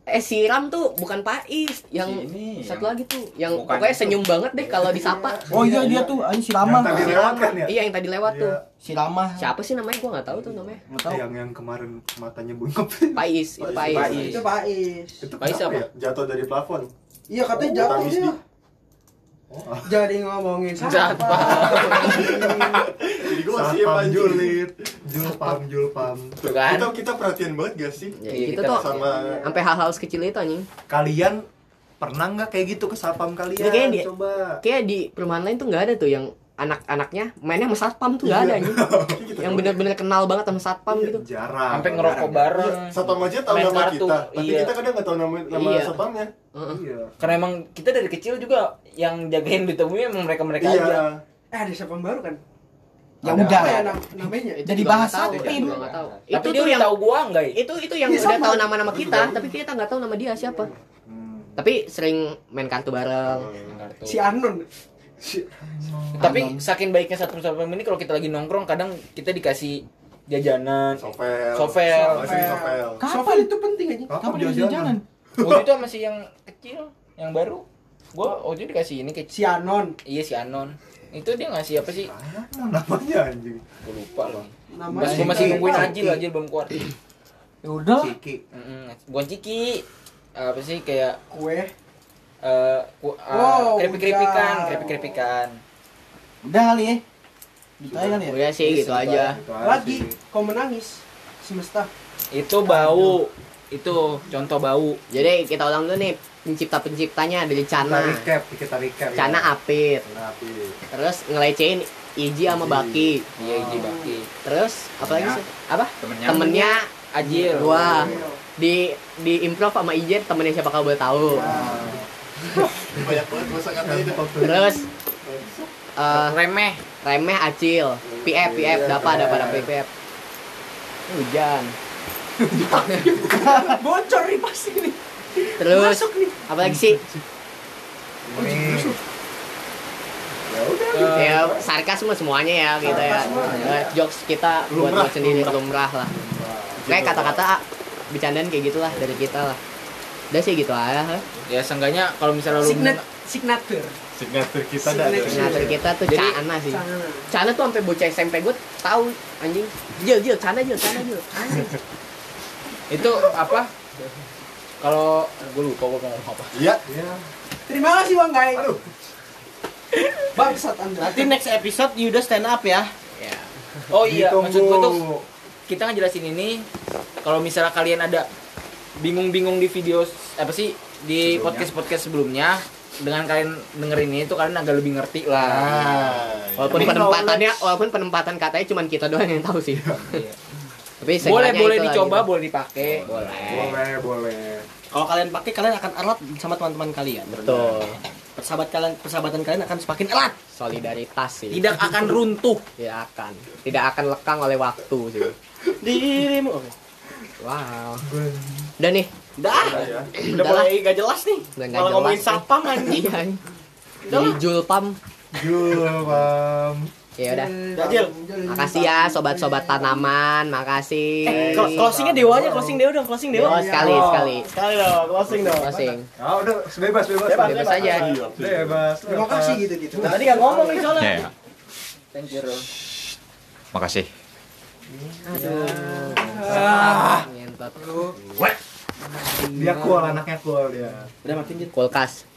S1: eh siram tuh bukan Pais yang
S3: Ini,
S1: satu
S3: yang-
S1: lagi tuh yang
S3: Bukan.
S1: pokoknya senyum banget deh kalau disapa.
S4: oh iya dia tuh anjing si lama
S5: Yang tadi lewat kan ya
S1: Iya yang tadi lewat tuh.
S5: Iya.
S4: si lama
S1: Siapa sih namanya gua nggak tahu tuh namanya.
S3: Hmm.
S4: nggak tahu
S5: yang yang kemarin matanya bungkep
S1: Pais, itu Pais.
S6: Pais.
S7: Itu Pak Is.
S6: Itu
S3: Pais
S6: kenapa
S3: apa?
S6: ya? Jatuh dari plafon.
S7: Iya katanya
S6: Oh,
S7: jatuh
S6: Pak Misdi.
S7: dia.
S5: Oh,
S7: Jadi ngomongin
S3: Jatuh.
S6: Jadi gue masih ya
S5: Satpam
S6: panjul.
S5: julid Julpam Julpam
S3: Tuh kan?
S6: Kita kita perhatian banget gak sih?
S1: Ya,
S3: Iya,
S1: gitu
S3: kita
S1: tuh.
S6: Sama
S1: Sampai hal-hal sekecil itu anjing.
S5: Kalian pernah nggak kayak gitu ke satpam kalian?
S1: Ini kayaknya dia-
S5: Coba
S1: Kayak di perumahan lain tuh nggak ada tuh yang anak-anaknya mainnya sama satpam tuh nggak ada anjing.
S6: Kita
S1: Yang
S6: tahu.
S1: bener-bener kenal banget sama satpam gitu.
S5: jarang
S3: Sampai ngerokok bareng.
S6: Satpam Iya, aja tahu
S3: Main
S6: nama
S3: kartu,
S6: kita, tapi
S3: iya.
S6: kita kadang nggak tahu nama nama
S1: Iya.
S6: satpamnya.
S1: Heeh.
S5: Iya
S3: Karena emang kita dari kecil juga yang jagain duta bumi emang mereka-mereka
S6: Iya.
S3: aja.
S7: Eh ada siapa baru kan?
S4: ya udah
S7: Apa ya nam- namanya?
S1: Itu
S4: Jadi
S1: juga nggak
S4: bahasa
S1: tahu,
S4: apa
S1: itu
S4: ini?
S1: juga nggak tahu.
S3: Tapi
S1: Itu
S3: dia
S1: tuh
S3: udah
S1: yang
S3: tahu gua enggak ya?
S1: itu itu yang udah tahu nama-nama kita tapi kita nggak tahu nama dia siapa
S5: Hmm.
S1: tapi sering main kartu
S7: Iya,
S1: bareng
S7: Si Anon.
S3: Tapi saking baiknya satu satpam ini kalau kita lagi nongkrong kadang kita dikasih jajanan.
S7: Oh.
S6: Sovel.
S3: Sovel.
S6: Masih sovel.
S7: Sopan itu penting aja.
S5: Kapan
S4: kapan dia
S5: jajanan?
S4: bisa jalan
S3: Waktu itu masih yang kecil, yang baru. Gua waktu itu dikasih ini kecil.
S7: Si Anon.
S3: Iya si Anon. Itu dia ngasih apa sih?
S5: Ah, namanya anjing
S3: Gua lupa loh.
S7: Namanya
S3: Mas gua masih
S7: juga
S3: nungguin
S7: nggak
S3: Ajil, Ajil belum keluar.
S4: ya udah
S5: Ciki
S3: Mm-mm, Gua ciki. Apa sih kayak
S7: tahu. Kue.
S3: eh ku- eh,
S7: Wow,
S3: keripik-keripikan,
S7: udah.
S3: keripik-keripikan.
S4: udah kali ya Udah kali ya
S1: udah sih gitu aja
S5: Itu aja
S7: Lagi
S5: sih.
S7: kau menangis semesta.
S3: Itu bau. Itu contoh bau.
S1: jadi kita ulang dulu nih pencipta penciptanya dari
S5: Kita
S1: Cana
S5: recap Kita recap ya.
S1: Cana Apit
S6: Tapi
S1: terus ngelecehin Iji sama Baki
S3: Iya, Iji Baki.
S1: terus apalagi sih apa
S3: Temennya Iya.
S1: temennya
S3: Ajil.
S1: dua
S7: Iya.
S1: di di improv sama Ijen temennya siapa kau boleh tahu
S6: banyak banget masa kata
S3: iya.
S6: itu.
S1: terus eh,
S3: Remeh.
S1: remeh acil PF PF
S6: Iya,
S1: dapat dapat dapat
S6: remeh.
S1: PF hujan
S7: Bocor nih pasti nih.
S1: Terus
S7: Masuk nih.
S1: apa lagi sih?
S5: Ini
S6: Ya udah.
S1: ya sarkasme semuanya ya kita ya.
S6: semuanya,
S1: Eh, Jokes kita buat
S6: Lumrah,
S1: buat sendiri lumrah lah. Kayak kata-kata ah, bercandaan kayak gitulah dari kita lah. Udah sih gitu aja. ha.
S3: ya seenggaknya kalau misalnya lu
S7: Signet signature.
S5: signature kita dah ada.
S1: Signatur kita tuh
S3: Jadi-
S1: Cana sih.
S7: Sana.
S1: Cana tuh sampai bocah SMP gue tahu anjing. Jil, jil, Cana, jil, Cana, jil. Anjing.
S3: itu apa kalau gue lupa gue ngomong apa
S6: Iya.
S7: Terima kasih Bang Gai. Bangsat Anda.
S4: Nanti next episode Yuda stand up ya.
S1: Ya.
S3: oh iya maksud gue tuh
S5: Ditunggu.
S3: kita ngejelasin ini kalau misalnya kalian ada bingung-bingung di video s- apa sih di podcast podcast sebelumnya dengan kalian dengerin ini tuh kalian agak lebih ngerti lah
S1: Ah. Walaupun penempatannya, walaupun penempatan katanya cuman kita doang yang tahu sih.
S3: Iya.
S1: Tapi
S3: boleh
S1: seenggaknya
S3: boleh
S1: itu lah
S3: dicoba
S1: gitu.
S3: boleh dipakai
S1: Boleh.
S5: Boleh, boleh.
S4: Kalau kalian pakai kalian akan erat sama teman-teman kalian.
S1: Betul.
S4: Persahabat kalian persahabatan kalian akan semakin erat.
S1: Solidaritas sih.
S3: tidak akan runtuh
S1: Tidak akan. Tidak akan lekang oleh waktu sih.
S4: Dirimu. Oke.
S1: Wow. Udah nih.
S4: Dah.
S6: ya.
S4: Udah
S1: Udah lah.
S4: mulai gak jelas nih.
S1: Udah nggak
S4: Malah
S1: jelas
S4: ngomongin
S1: nih.
S4: sapam anjing.
S1: Iya.
S4: Udah
S1: Jadi
S4: lah.
S1: Julpam.
S5: Julpam.
S1: Ya udah.
S4: Udah, Jil.
S1: Makasih ya sobat-sobat tanaman. Makasih.
S4: Eh, clo- closingnya dewanya, closing dewa dong, closing dewa.
S1: Dewa sekali sekali.
S4: Iya, Sekali dong, closing dong.
S1: Closing.
S5: Ah, udah bebas, bebas.
S4: Bebas,
S1: Bebas aja.
S6: Iya.
S5: Bebas.
S7: Terima kasih gitu-gitu.
S4: Nah, tadi gak ngomong nih soalnya.
S3: Iya.
S8: Ya. Makasih.
S1: Ngentot.
S3: Ah.
S5: Dia kual anaknya kual dia.
S4: Udah matiin Jil.
S1: Kulkas.